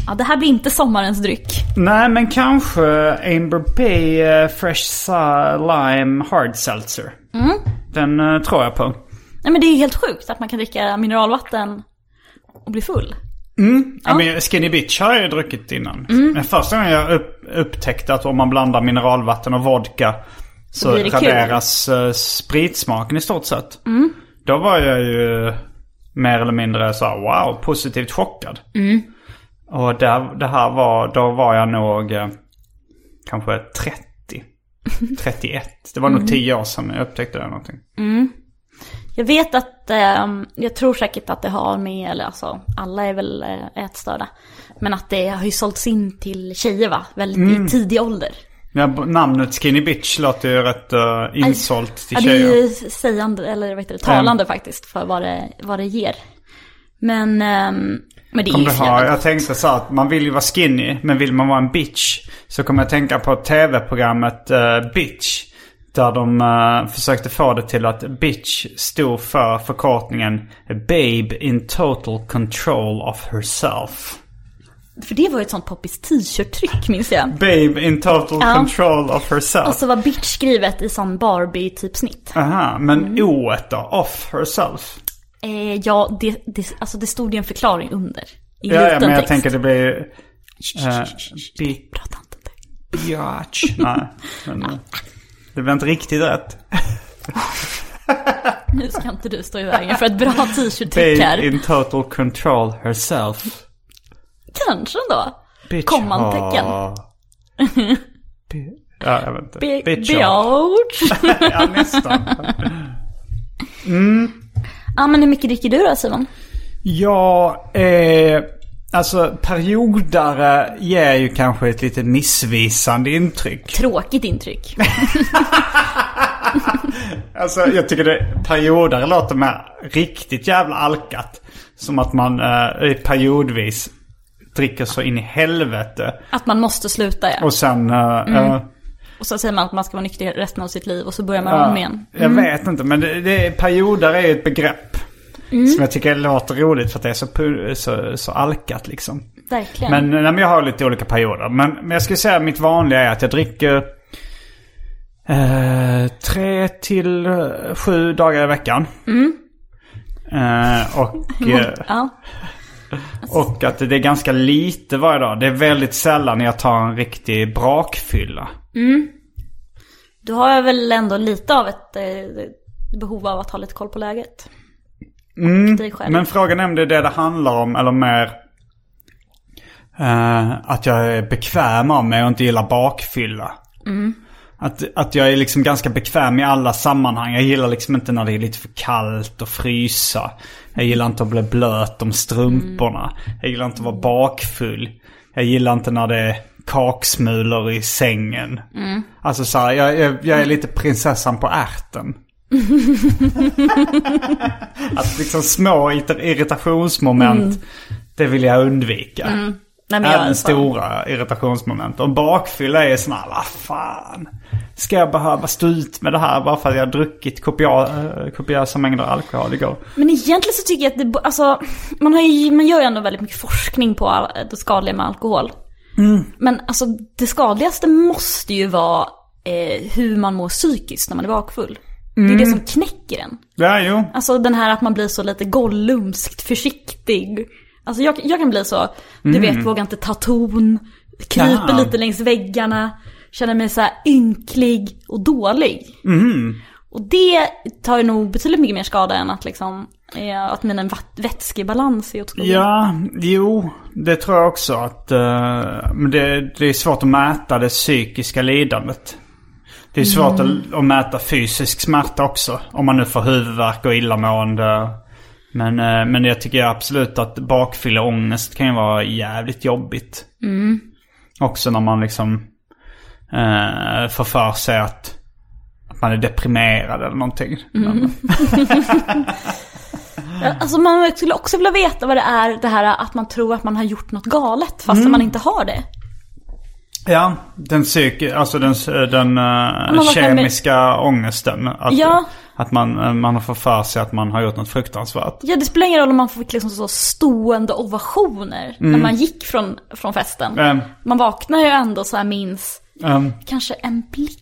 Speaker 3: Ja, det här blir inte sommarens dryck.
Speaker 2: nej men kanske Amber Bay eh, Fresh Sa- Lime Hard Seltzer.
Speaker 3: Mm.
Speaker 2: Den eh, tror jag på.
Speaker 3: Nej men det är ju helt sjukt att man kan dricka mineralvatten och bli full.
Speaker 2: Ja, men Skinny Bitch har jag ju druckit innan.
Speaker 3: Mm.
Speaker 2: Men första gången jag upp, upptäckte att om man blandar mineralvatten och vodka så,
Speaker 3: blir det kul. Mm.
Speaker 2: raderas eh, spritsmaken i stort sett. Då var jag ju mer eller mindre så här, wow, positivt chockad.
Speaker 3: Mm.
Speaker 2: Och där, det här var, då var jag nog eh, kanske 30, 31. Det var
Speaker 3: Mm.
Speaker 2: nog 10 år sedan jag upptäckte det någonting.
Speaker 3: Jag vet att, ehm, jag tror säkert att det har med, eller alltså alla är väl eh, ätstörda. Men att det har ju sålts in till tjejer va? Väldigt
Speaker 2: Mm.
Speaker 3: i tidig ålder.
Speaker 2: Ja, b- namnet Skinny Bitch låter ju rätt uh, insålt till
Speaker 3: Alltså, Ja, det är
Speaker 2: tjejer. Ehm.
Speaker 3: ju sägande, eller vad heter det, talande faktiskt för vad det, vad det ger. Men, ehm, men det är
Speaker 2: Kommer
Speaker 3: ju
Speaker 2: du
Speaker 3: så
Speaker 2: ha,
Speaker 3: jävla
Speaker 2: jag tänkte så här att man vill ju vara skinny, men vill man vara en bitch så kommer jag tänka på tv-programmet eh, Bitch. Där de eh, försökte få det till att bitch stod för förkortningen Babe in total control of herself.
Speaker 3: För det var ju ett sånt poppis t-shirt-tryck minns jag.
Speaker 2: Babe in total
Speaker 3: Ja.
Speaker 2: control of herself.
Speaker 3: Och så var bitch skrivet i sån Barbie-typ snitt.
Speaker 2: Aha, men
Speaker 3: Mm.
Speaker 2: oet då? Off herself?
Speaker 3: Eh, ja, det, det, alltså det stod ju en förklaring under. I
Speaker 2: Ja, ja,
Speaker 3: liten
Speaker 2: men jag
Speaker 3: text.
Speaker 2: tänker det blir ju... eh, bi-
Speaker 3: Prata inte om det.
Speaker 2: Biatch. Nej, men eh, det blir inte riktigt rätt.
Speaker 3: Nu ska inte du stå i vägen för ett bra t-shirt-tryck
Speaker 2: Babe
Speaker 3: här.
Speaker 2: in total control herself.
Speaker 3: Kanske då.
Speaker 2: Bitch.
Speaker 3: Kommantecken.
Speaker 2: Ja. Bi- Ja, jag vet inte.
Speaker 3: Be-
Speaker 2: Bitch. Ja,
Speaker 3: Beach.
Speaker 2: Ja, nästan.
Speaker 3: Ja, men hur mycket dricker du då Simon?
Speaker 2: Jag är... Alltså periodare ger ju kanske ett lite missvisande intryck.
Speaker 3: Tråkigt intryck.
Speaker 2: Alltså jag tycker det, periodare låter mer riktigt jävla alkat. Som att man eh, periodvis dricker så in i helvete.
Speaker 3: Att man måste sluta ja.
Speaker 2: Och sen... eh, eh,
Speaker 3: Och så säger man att man ska vara nykter resten av sitt liv och så börjar man om igen.
Speaker 2: Jag vet inte, men det, det, perioder är ju ett begrepp. Som jag tycker låter roligt för att det är så, pu- så, så alkat liksom.
Speaker 3: Verkligen.
Speaker 2: Men, nej, men jag har lite olika perioder. Men, men jag skulle säga att mitt vanliga är att jag dricker eh, tre till eh, sju dagar i veckan. Eh, och, eh,
Speaker 3: Ja.
Speaker 2: och att det är ganska lite varje dag. Det är väldigt sällan jag tar en riktig brakfylla.
Speaker 3: Då har jag väl ändå lite av ett eh, behov av att ha lite koll på läget. Mm, dig själv.
Speaker 2: Men frågan är om det är det det handlar om eller mer eh, att jag är bekväm av mig och inte gillar bakfylla.
Speaker 3: Mm.
Speaker 2: Att, att jag är liksom ganska bekväm i alla sammanhang. Jag gillar liksom inte när det är lite för kallt och frysa. Jag gillar inte att bli blöt om strumporna. Jag gillar inte att vara bakfull. Jag gillar inte när det är kaksmulor i sängen.
Speaker 3: Mm.
Speaker 2: Alltså så här, jag, jag, jag är lite prinsessan på ärten. Att liksom små irrit- irritationsmoment, det vill jag undvika.
Speaker 3: Nej, men jag är
Speaker 2: Även
Speaker 3: en sån.
Speaker 2: stora irritationsmoment. Och bakfylla är sån här, vad fan. Ska jag behöva stå ut med det här bara för att jag har druckit kopia, eh, kopiösa mängder alkohol igår?
Speaker 3: Men egentligen så tycker jag att det, bo- alltså, man, har ju, man gör ju ändå väldigt mycket forskning på all- det skadliga med alkohol. Men alltså det skadligaste måste ju vara eh, hur man mår psykiskt när man är bakfull. Det är det som knäcker en.
Speaker 2: Ja, jo.
Speaker 3: Alltså den här att man blir så lite gollumskt försiktig. Alltså jag, jag kan bli så, du vet, vågar inte ta ton, kryper
Speaker 2: Ja.
Speaker 3: lite längs väggarna, känner mig så här ynklig och dålig. Och det tar ju nog betydligt mycket mer skada än att liksom, eh, att min vat- vätskebalans är åt skogen.
Speaker 2: Ja, jo. Det tror jag också att... eh, men det, det är svårt att mäta det psykiska lidandet. Det är svårt att, att mäta fysisk smärta också. Om man nu får huvudvärk och illamående. Men, eh, men jag tycker absolut att bakfylla ångest kan ju vara jävligt jobbigt. Också när man liksom eh, får för sig att, att man är deprimerad eller någonting. Men,
Speaker 3: Alltså man skulle också vilja veta vad det är det här att man tror att man har gjort något galet fast man inte har det.
Speaker 2: Ja, den psyk, alltså den, den eh,
Speaker 3: man kan bli-
Speaker 2: kemiska ångesten. Att,
Speaker 3: Ja.
Speaker 2: att man, eh, man har fått för sig att man har gjort något fruktansvärt.
Speaker 3: Ja, det spelar ingen roll om man fick liksom så stående ovationer när man gick från, från festen.
Speaker 2: Ehm,
Speaker 3: Man vaknar ju ändå så här minns
Speaker 2: ehm,
Speaker 3: kanske en blick.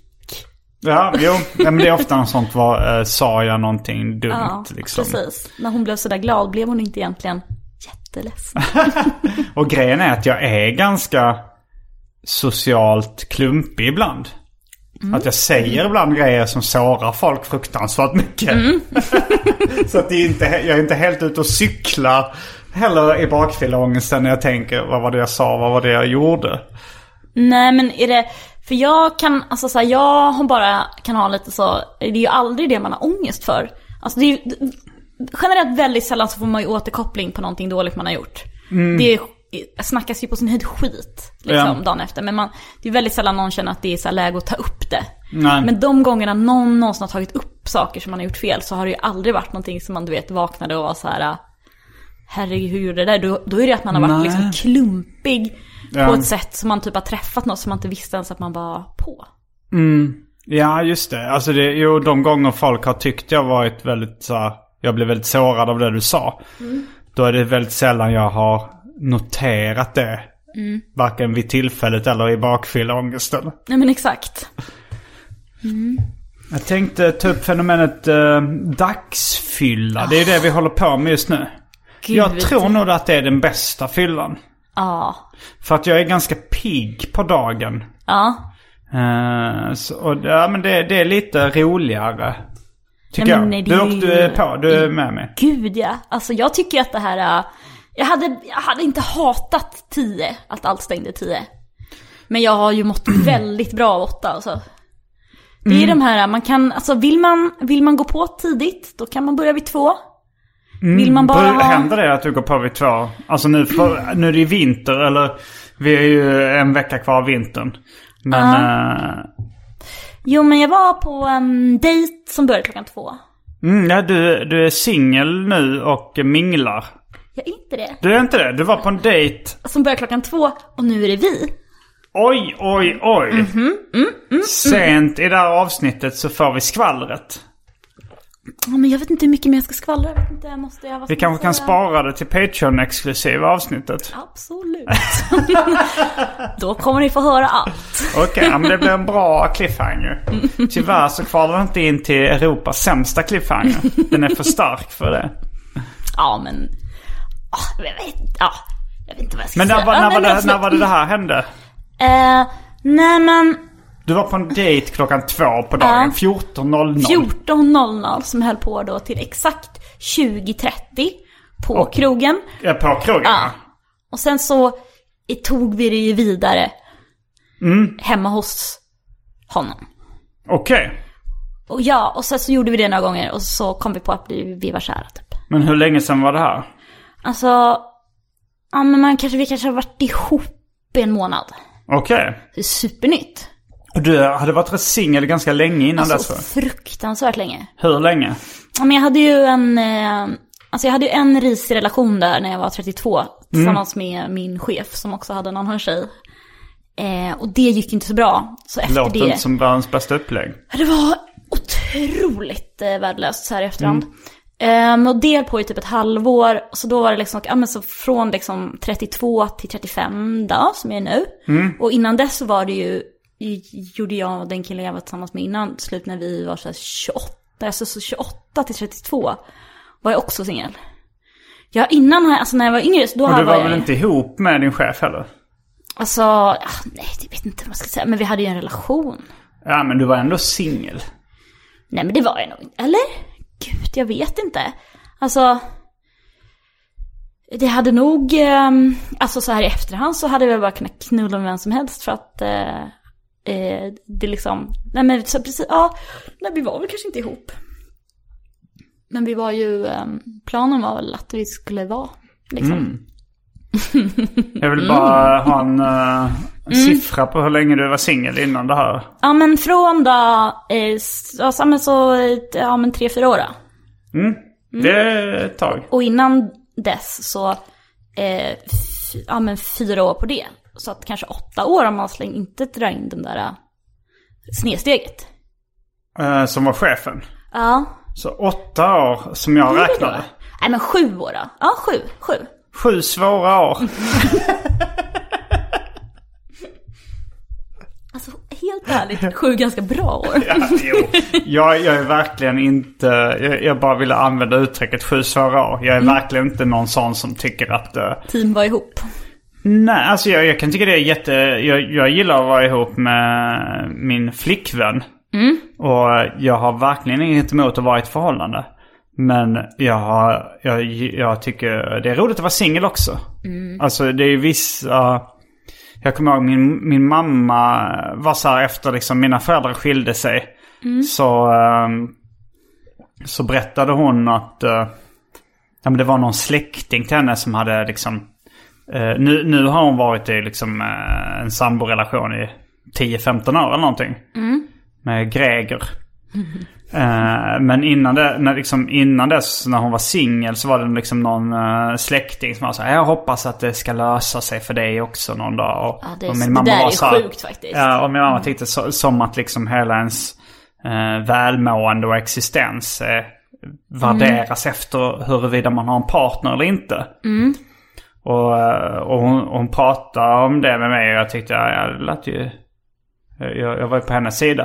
Speaker 2: ja, jo. Ja, men det är ofta något sånt. Var, eh, sa jag någonting dumt
Speaker 3: Ja,
Speaker 2: liksom?
Speaker 3: precis. När hon blev så där glad blev hon inte egentligen jätteledsen.
Speaker 2: Och grejen är att jag är ganska socialt klumpig ibland. Att jag säger ibland grejer som sårar folk fruktansvärt mycket. Så att det är inte, jag är inte helt ute och cyklar heller i bakfylleångesten när jag tänker vad var det jag sa, vad var det jag gjorde.
Speaker 3: Nej, men är det... För jag kan, alltså så här, jag har bara, kan ha lite så, det är ju aldrig det man har ångest för. Alltså det är ju, generellt väldigt sällan så får man ju återkoppling på någonting dåligt man har gjort. Det är, snackas ju på sin höjd skit liksom,
Speaker 2: Mm. Ja.
Speaker 3: dagen efter. Men man, det är väldigt sällan någon känner att det är så här läge att ta upp det.
Speaker 2: Nej.
Speaker 3: Men de gångerna någon någonsin har tagit upp saker som man har gjort fel så har det ju aldrig varit någonting som man du vet vaknade och var så här. Herregud, hur gjorde jag det där? Då, då är det att man har varit
Speaker 2: Nej.
Speaker 3: liksom klumpig på
Speaker 2: Ja.
Speaker 3: ett sätt som man typ har träffat något som man inte visste ens att man var på.
Speaker 2: Ja, just det. Alltså det, jo, de gånger folk har tyckt jag varit väldigt så här, jag blev väldigt sårad av det du sa. Då är det väldigt sällan jag har noterat det. Varken vid tillfället eller i bakfylleångesten.
Speaker 3: Nej men exakt.
Speaker 2: Jag tänkte ta upp fenomenet eh, dagsfylla. Det är ju det vi håller på med just nu.
Speaker 3: Gud.
Speaker 2: jag tror nog att det är den bästa fyllan.
Speaker 3: Ja.
Speaker 2: För att jag är ganska pigg på dagen.
Speaker 3: Ja.
Speaker 2: Eh, så, och, ja, men det, det är lite roligare. Tycker
Speaker 3: Ja,
Speaker 2: jag.
Speaker 3: men nej, det
Speaker 2: du,
Speaker 3: är
Speaker 2: och,
Speaker 3: ju-
Speaker 2: du är på, du är med mig.
Speaker 3: Gud ja. Alltså jag tycker att det här... äh, Jag hade, jag hade inte hatat 10, att allt stängde 10. Men jag har ju mått väldigt bra av 8 alltså. Det är
Speaker 2: Mm.
Speaker 3: de här, äh, man kan, alltså vill man, vill man gå på tidigt, då kan man börja vid två. Vill man bara
Speaker 2: Hur
Speaker 3: ha...
Speaker 2: händer det att du går på vid två? Alltså nu, för, nu är det ju vinter eller vi är ju en vecka kvar av vintern. Men eh,
Speaker 3: Jo men jag var på en dejt som började klockan två.
Speaker 2: mm, ja, du, du är singel nu och minglar.
Speaker 3: Jag är inte det.
Speaker 2: Du är inte det? Du var på en dejt.
Speaker 3: Som börjar klockan två och nu är det vi.
Speaker 2: Oj, oj, oj.
Speaker 3: Mhm, mm,
Speaker 2: Sent i det här avsnittet så får vi skvallret.
Speaker 3: Ja, men jag vet inte hur mycket mer jag ska skvallra. Jag vet inte, jag måste, jag, vad
Speaker 2: Vi
Speaker 3: ska man
Speaker 2: kanske kan
Speaker 3: säga?
Speaker 2: spara det till Patreon-exklusiva avsnittet.
Speaker 3: Absolut. Då kommer ni få höra allt.
Speaker 2: Okej, ja, men det blir en bra cliffhanger. Tyvärr så kvalar den inte in till Europas sämsta cliffhanger. Den är för stark för det.
Speaker 3: Ja, men... ah, jag, vet, ja, jag vet inte vad jag ska
Speaker 2: Men när,
Speaker 3: säga.
Speaker 2: var-
Speaker 3: Ja,
Speaker 2: när, var,
Speaker 3: men
Speaker 2: det,
Speaker 3: alltså-
Speaker 2: när var det det här hände?
Speaker 3: Eh, nej, men
Speaker 2: Du var på en dejt klockan två på dagen. 14.00.
Speaker 3: 14.00 som höll på då till exakt 20.30 på
Speaker 2: Oj.
Speaker 3: krogen.
Speaker 2: Ja, eh, på krogen.
Speaker 3: Ja. Och sen så i- tog vi det ju vidare
Speaker 2: Mm.
Speaker 3: hemma hos honom.
Speaker 2: Okej.
Speaker 3: Och ja, och sen så gjorde vi det några gånger och så kom vi på att vi, vi var kära typ.
Speaker 2: Men hur länge sedan var det här?
Speaker 3: Alltså, ja men man kanske, vi kanske har varit ihop i en månad.
Speaker 2: Okej.
Speaker 3: Det är supernytt.
Speaker 2: Du hade varit singel ganska länge innan dess
Speaker 3: Alltså
Speaker 2: va?
Speaker 3: fruktansvärt länge.
Speaker 2: Hur länge?
Speaker 3: Ja men jag hade ju en, eh, alltså jag hade ju en risig relation där när jag var 32 tillsammans
Speaker 2: Mm.
Speaker 3: med min chef som också hade en annan tjej. Eh, och det gick inte så bra. Så efter
Speaker 2: Låter
Speaker 3: det...
Speaker 2: inte som världens bästa upplägg.
Speaker 3: Det var otroligt eh, värdelöst så här i efterhand.
Speaker 2: Mm.
Speaker 3: Ehm, och det höll på i typ ett halvår. Så då var det liksom, ja, men så från liksom 32 till 35 dagar som jag är nu.
Speaker 2: Mm.
Speaker 3: Och innan dess så var det ju, gjorde jag och den killen jag var tillsammans med innan slut när vi var så här 28. Alltså så 28 till 32 var jag också singel. Ja, innan, här, alltså när jag var yngre, så då
Speaker 2: Och
Speaker 3: här
Speaker 2: du var
Speaker 3: jag
Speaker 2: väl inte ihop med din chef heller?
Speaker 3: Alltså, ah, nej, jag vet inte vad man ska säga, men vi hade ju en relation.
Speaker 2: Ja, men du var ändå singel.
Speaker 3: Nej men det var jag nog inte. Eller? Gud, jag vet inte. Alltså... Det hade nog, ehm, alltså så här i efterhand så hade jag väl bara kunnat knulla med vem som helst för att eh, eh, det liksom, nej men så precis, ja, nej vi var väl kanske inte ihop. Men vi var ju, ehm, planen var väl att vi skulle vara, liksom.
Speaker 2: Jag vill bara ha en eh, siffra på hur länge du var singel innan det här.
Speaker 3: Ja men från då, eh, s- ja så- men så, eh, ja men tre, fyra år då.
Speaker 2: Det är ett tag.
Speaker 3: Och innan dess så, eh, fy, ja men fyra år på det. Så att kanske åtta år om man släng, inte drar in den där eh, snedsteget.
Speaker 2: Eh, som var chefen.
Speaker 3: Ja.
Speaker 2: Så åtta år som jag
Speaker 3: Hur är det då?
Speaker 2: räknade.
Speaker 3: Nej men sju år då. Ja, sju. Sju.
Speaker 2: Sju svåra år.
Speaker 3: Alltså helt ärligt, sju ganska bra år.
Speaker 2: Ja, jo. Jag, jag är verkligen inte, jag, jag bara ville använda uttrycket sju svåra år. Jag är verkligen inte någon sån som tycker att eh,
Speaker 3: Team var ihop.
Speaker 2: Nej, alltså jag, jag kan tycka det är jätte... Jag, jag gillar att vara ihop med min flickvän. Och jag har verkligen inget emot att vara i ett förhållande. Men jag, har, jag, jag tycker det är roligt att vara singel också. Alltså det är ju vissa... Jag kommer ihåg min, min mamma var så här efter liksom mina föräldrar skilde sig. Så, ehm, så berättade hon att eh, ja, men det var någon släkting till henne som hade liksom Eh, nu, nu har hon varit i liksom, eh, en samborelation i 10-15 år eller någonting.
Speaker 3: Mm.
Speaker 2: Med Greger. Eh, men innan, det, när, liksom, innan dess när hon var singel så var det liksom någon eh, släkting som var så här, Jag hoppas att det ska lösa sig för dig också någon dag. Och,
Speaker 3: Ja, det är-
Speaker 2: och
Speaker 3: det där är
Speaker 2: så här-
Speaker 3: sjukt faktiskt. Mm.
Speaker 2: Ja, och min mamma tyckte så, som att liksom hela ens eh, välmående och existens eh, värderas
Speaker 3: Mm.
Speaker 2: efter huruvida man har en partner eller inte. Och, eh, och hon, hon pratade om det med mig och jag tyckte ja, ja, det lät ju... Jag, jag var ju på hennes sida.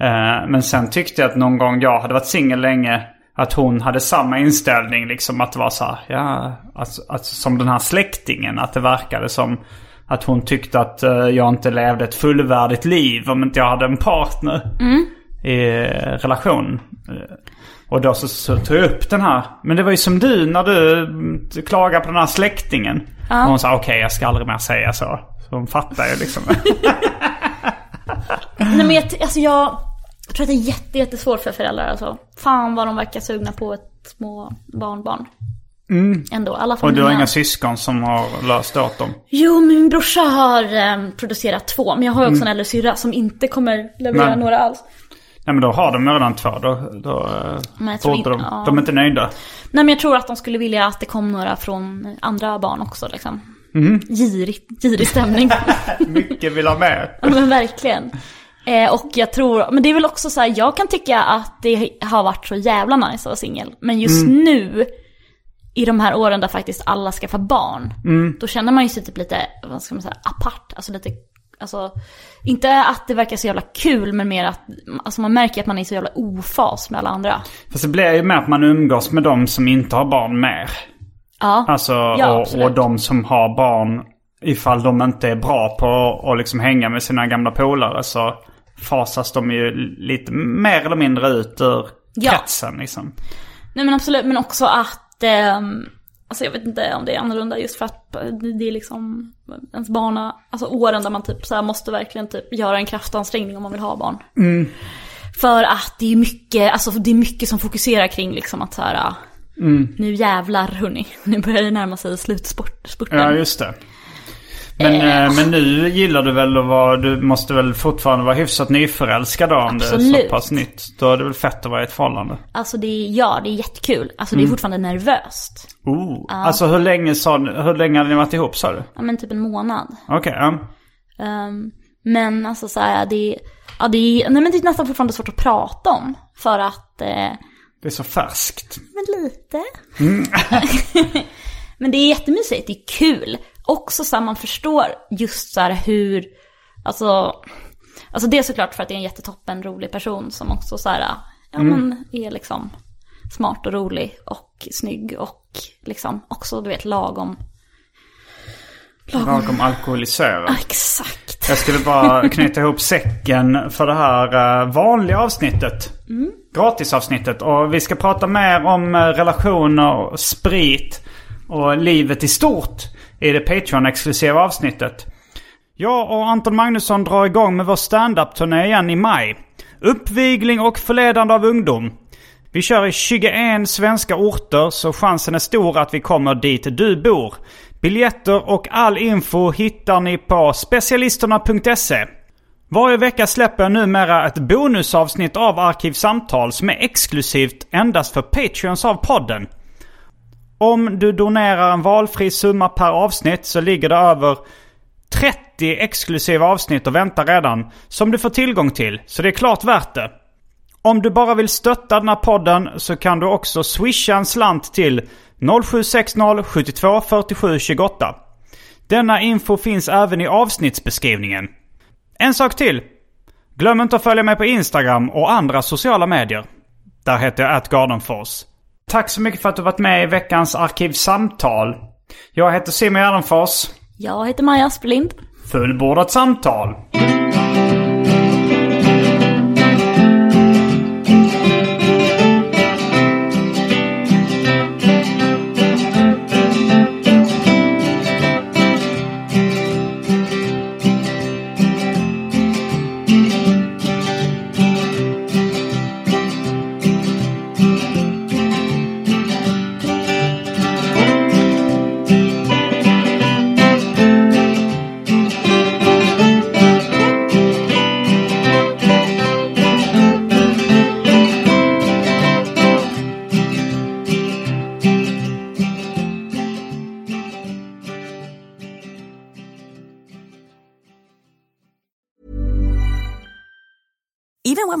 Speaker 2: Eh, men sen tyckte jag att någon gång jag hade varit singel länge att hon hade samma inställning liksom att det var så här, ja, alltså, alltså, som den här släktingen. Att det verkade som att hon tyckte att eh, jag inte levde ett fullvärdigt liv om inte jag hade en partner i eh, relation. Eh, Och då så, så tog jag upp den här. Men det var ju som du när du mm, klagade på den här släktingen. Och hon sa okej jag ska aldrig mer säga så. Så hon fattar ju liksom.
Speaker 3: Nej men jag, alltså jag tror att det är jätte, jättesvårt för föräldrar alltså. Fan vad de verkar sugna på ett små barnbarn. Ändå, i alla fall
Speaker 2: Mm. Och du har
Speaker 3: mina-
Speaker 2: inga syskon som har löst åt dem.
Speaker 3: Jo, min brorsa har eh, producerat två, men jag har ju också en äldre syrra som inte kommer leverera
Speaker 2: Nej.
Speaker 3: några alls.
Speaker 2: Nej men då har de redan två. Då, då eh,
Speaker 3: Men jag tror
Speaker 2: borde de.
Speaker 3: inte- ja.
Speaker 2: De är inte nöjda.
Speaker 3: Nej, men jag tror att de skulle vilja att det kom några från andra barn också liksom. Girig, girig stämning.
Speaker 2: Mycket vill ha mer.
Speaker 3: Ja, men verkligen. Eh, och jag tror, men det är väl också så här, jag kan tycka att det har varit så jävla nice att vara singel. Men just nu, i de här åren där faktiskt alla skaffar barn, då känner man ju sig typ lite, vad ska man säga, apart. Alltså lite, alltså, inte att det verkar så jävla kul, men mer att alltså man märker att man är så jävla ofas med alla andra.
Speaker 2: Fast det blir ju mer att man umgås med de som inte har barn mer.
Speaker 3: Ja,
Speaker 2: Alltså, och,
Speaker 3: absolut.
Speaker 2: och de som har barn, ifall de inte är bra på att liksom hänga med sina gamla polare så fasas de ju lite mer eller mindre ut ur
Speaker 3: Ja.
Speaker 2: kretsen liksom.
Speaker 3: Nej men absolut, men också att, ehm, alltså jag vet inte om det är annorlunda just för att eh, det är liksom ens barna, alltså åren där man typ så här måste verkligen typ göra en kraftansträngning om man vill ha barn. För att det är mycket, alltså det är mycket som fokuserar kring liksom att så här, ah, nu jävlar hörni, nu börjar det närma sig slutspurten.
Speaker 2: Ja, just det. Men, eh, men nu gillar du väl att vara, du måste väl fortfarande vara hyfsat nyförälskad då, om det är så
Speaker 3: Absolut.
Speaker 2: pass nytt. Då är det väl fett att vara i ett förhållande.
Speaker 3: Alltså det är, ja, det är jättekul. Alltså det är fortfarande nervöst.
Speaker 2: Oh. Alltså hur länge, sa, ni- hur länge hade ni varit ihop sa du?
Speaker 3: Ja men typ en månad.
Speaker 2: Okej, ja.
Speaker 3: Ehm, men alltså så här, det, ja, det, är, nej, men det är nästan fortfarande svårt att prata om. För att, eh,
Speaker 2: Det är så färskt.
Speaker 3: men lite. men det är jättemysigt, det är kul. Också så här, man förstår just så här hur, alltså, alltså det är såklart för att det är en jättetoppen rolig person som också så här, ja men är liksom smart och rolig och snygg och liksom också du vet lagom.
Speaker 2: Lagom alkoholiserad.
Speaker 3: Exakt.
Speaker 2: Jag skulle bara knyta ihop säcken för det här eh, vanliga avsnittet. Gratisavsnittet. Och vi ska prata mer om eh, relationer, och sprit och livet i stort i det Patreon-exklusiva avsnittet. Jag och Anton Magnusson drar igång med vår standup-turné igen i maj. Uppvigling och förledande av ungdom. Vi kör i 21 svenska orter så chansen är stor att vi kommer dit du bor. Biljetter och all info hittar ni på specialisterna.se. Varje vecka släpper jag numera ett bonusavsnitt av Arkivsamtal som är exklusivt endast för Patreons av podden. Om du donerar en valfri summa per avsnitt så ligger det över 30 exklusiva avsnitt och väntar redan som du får tillgång till. Så det är klart värt det. Om du bara vill stötta den här podden så kan du också swisha en slant till 0760 72 47 28. Denna info finns även i avsnittsbeskrivningen. En sak till! Glöm inte att följa mig på Instagram och andra sociala medier. Där heter jag atgardenfors. Tack så mycket för att du varit med i veckans Arkivsamtal. Jag heter Simon Gärdenfors.
Speaker 3: Jag heter Maja Asplind.
Speaker 2: Fullbordat samtal!
Speaker 4: Even when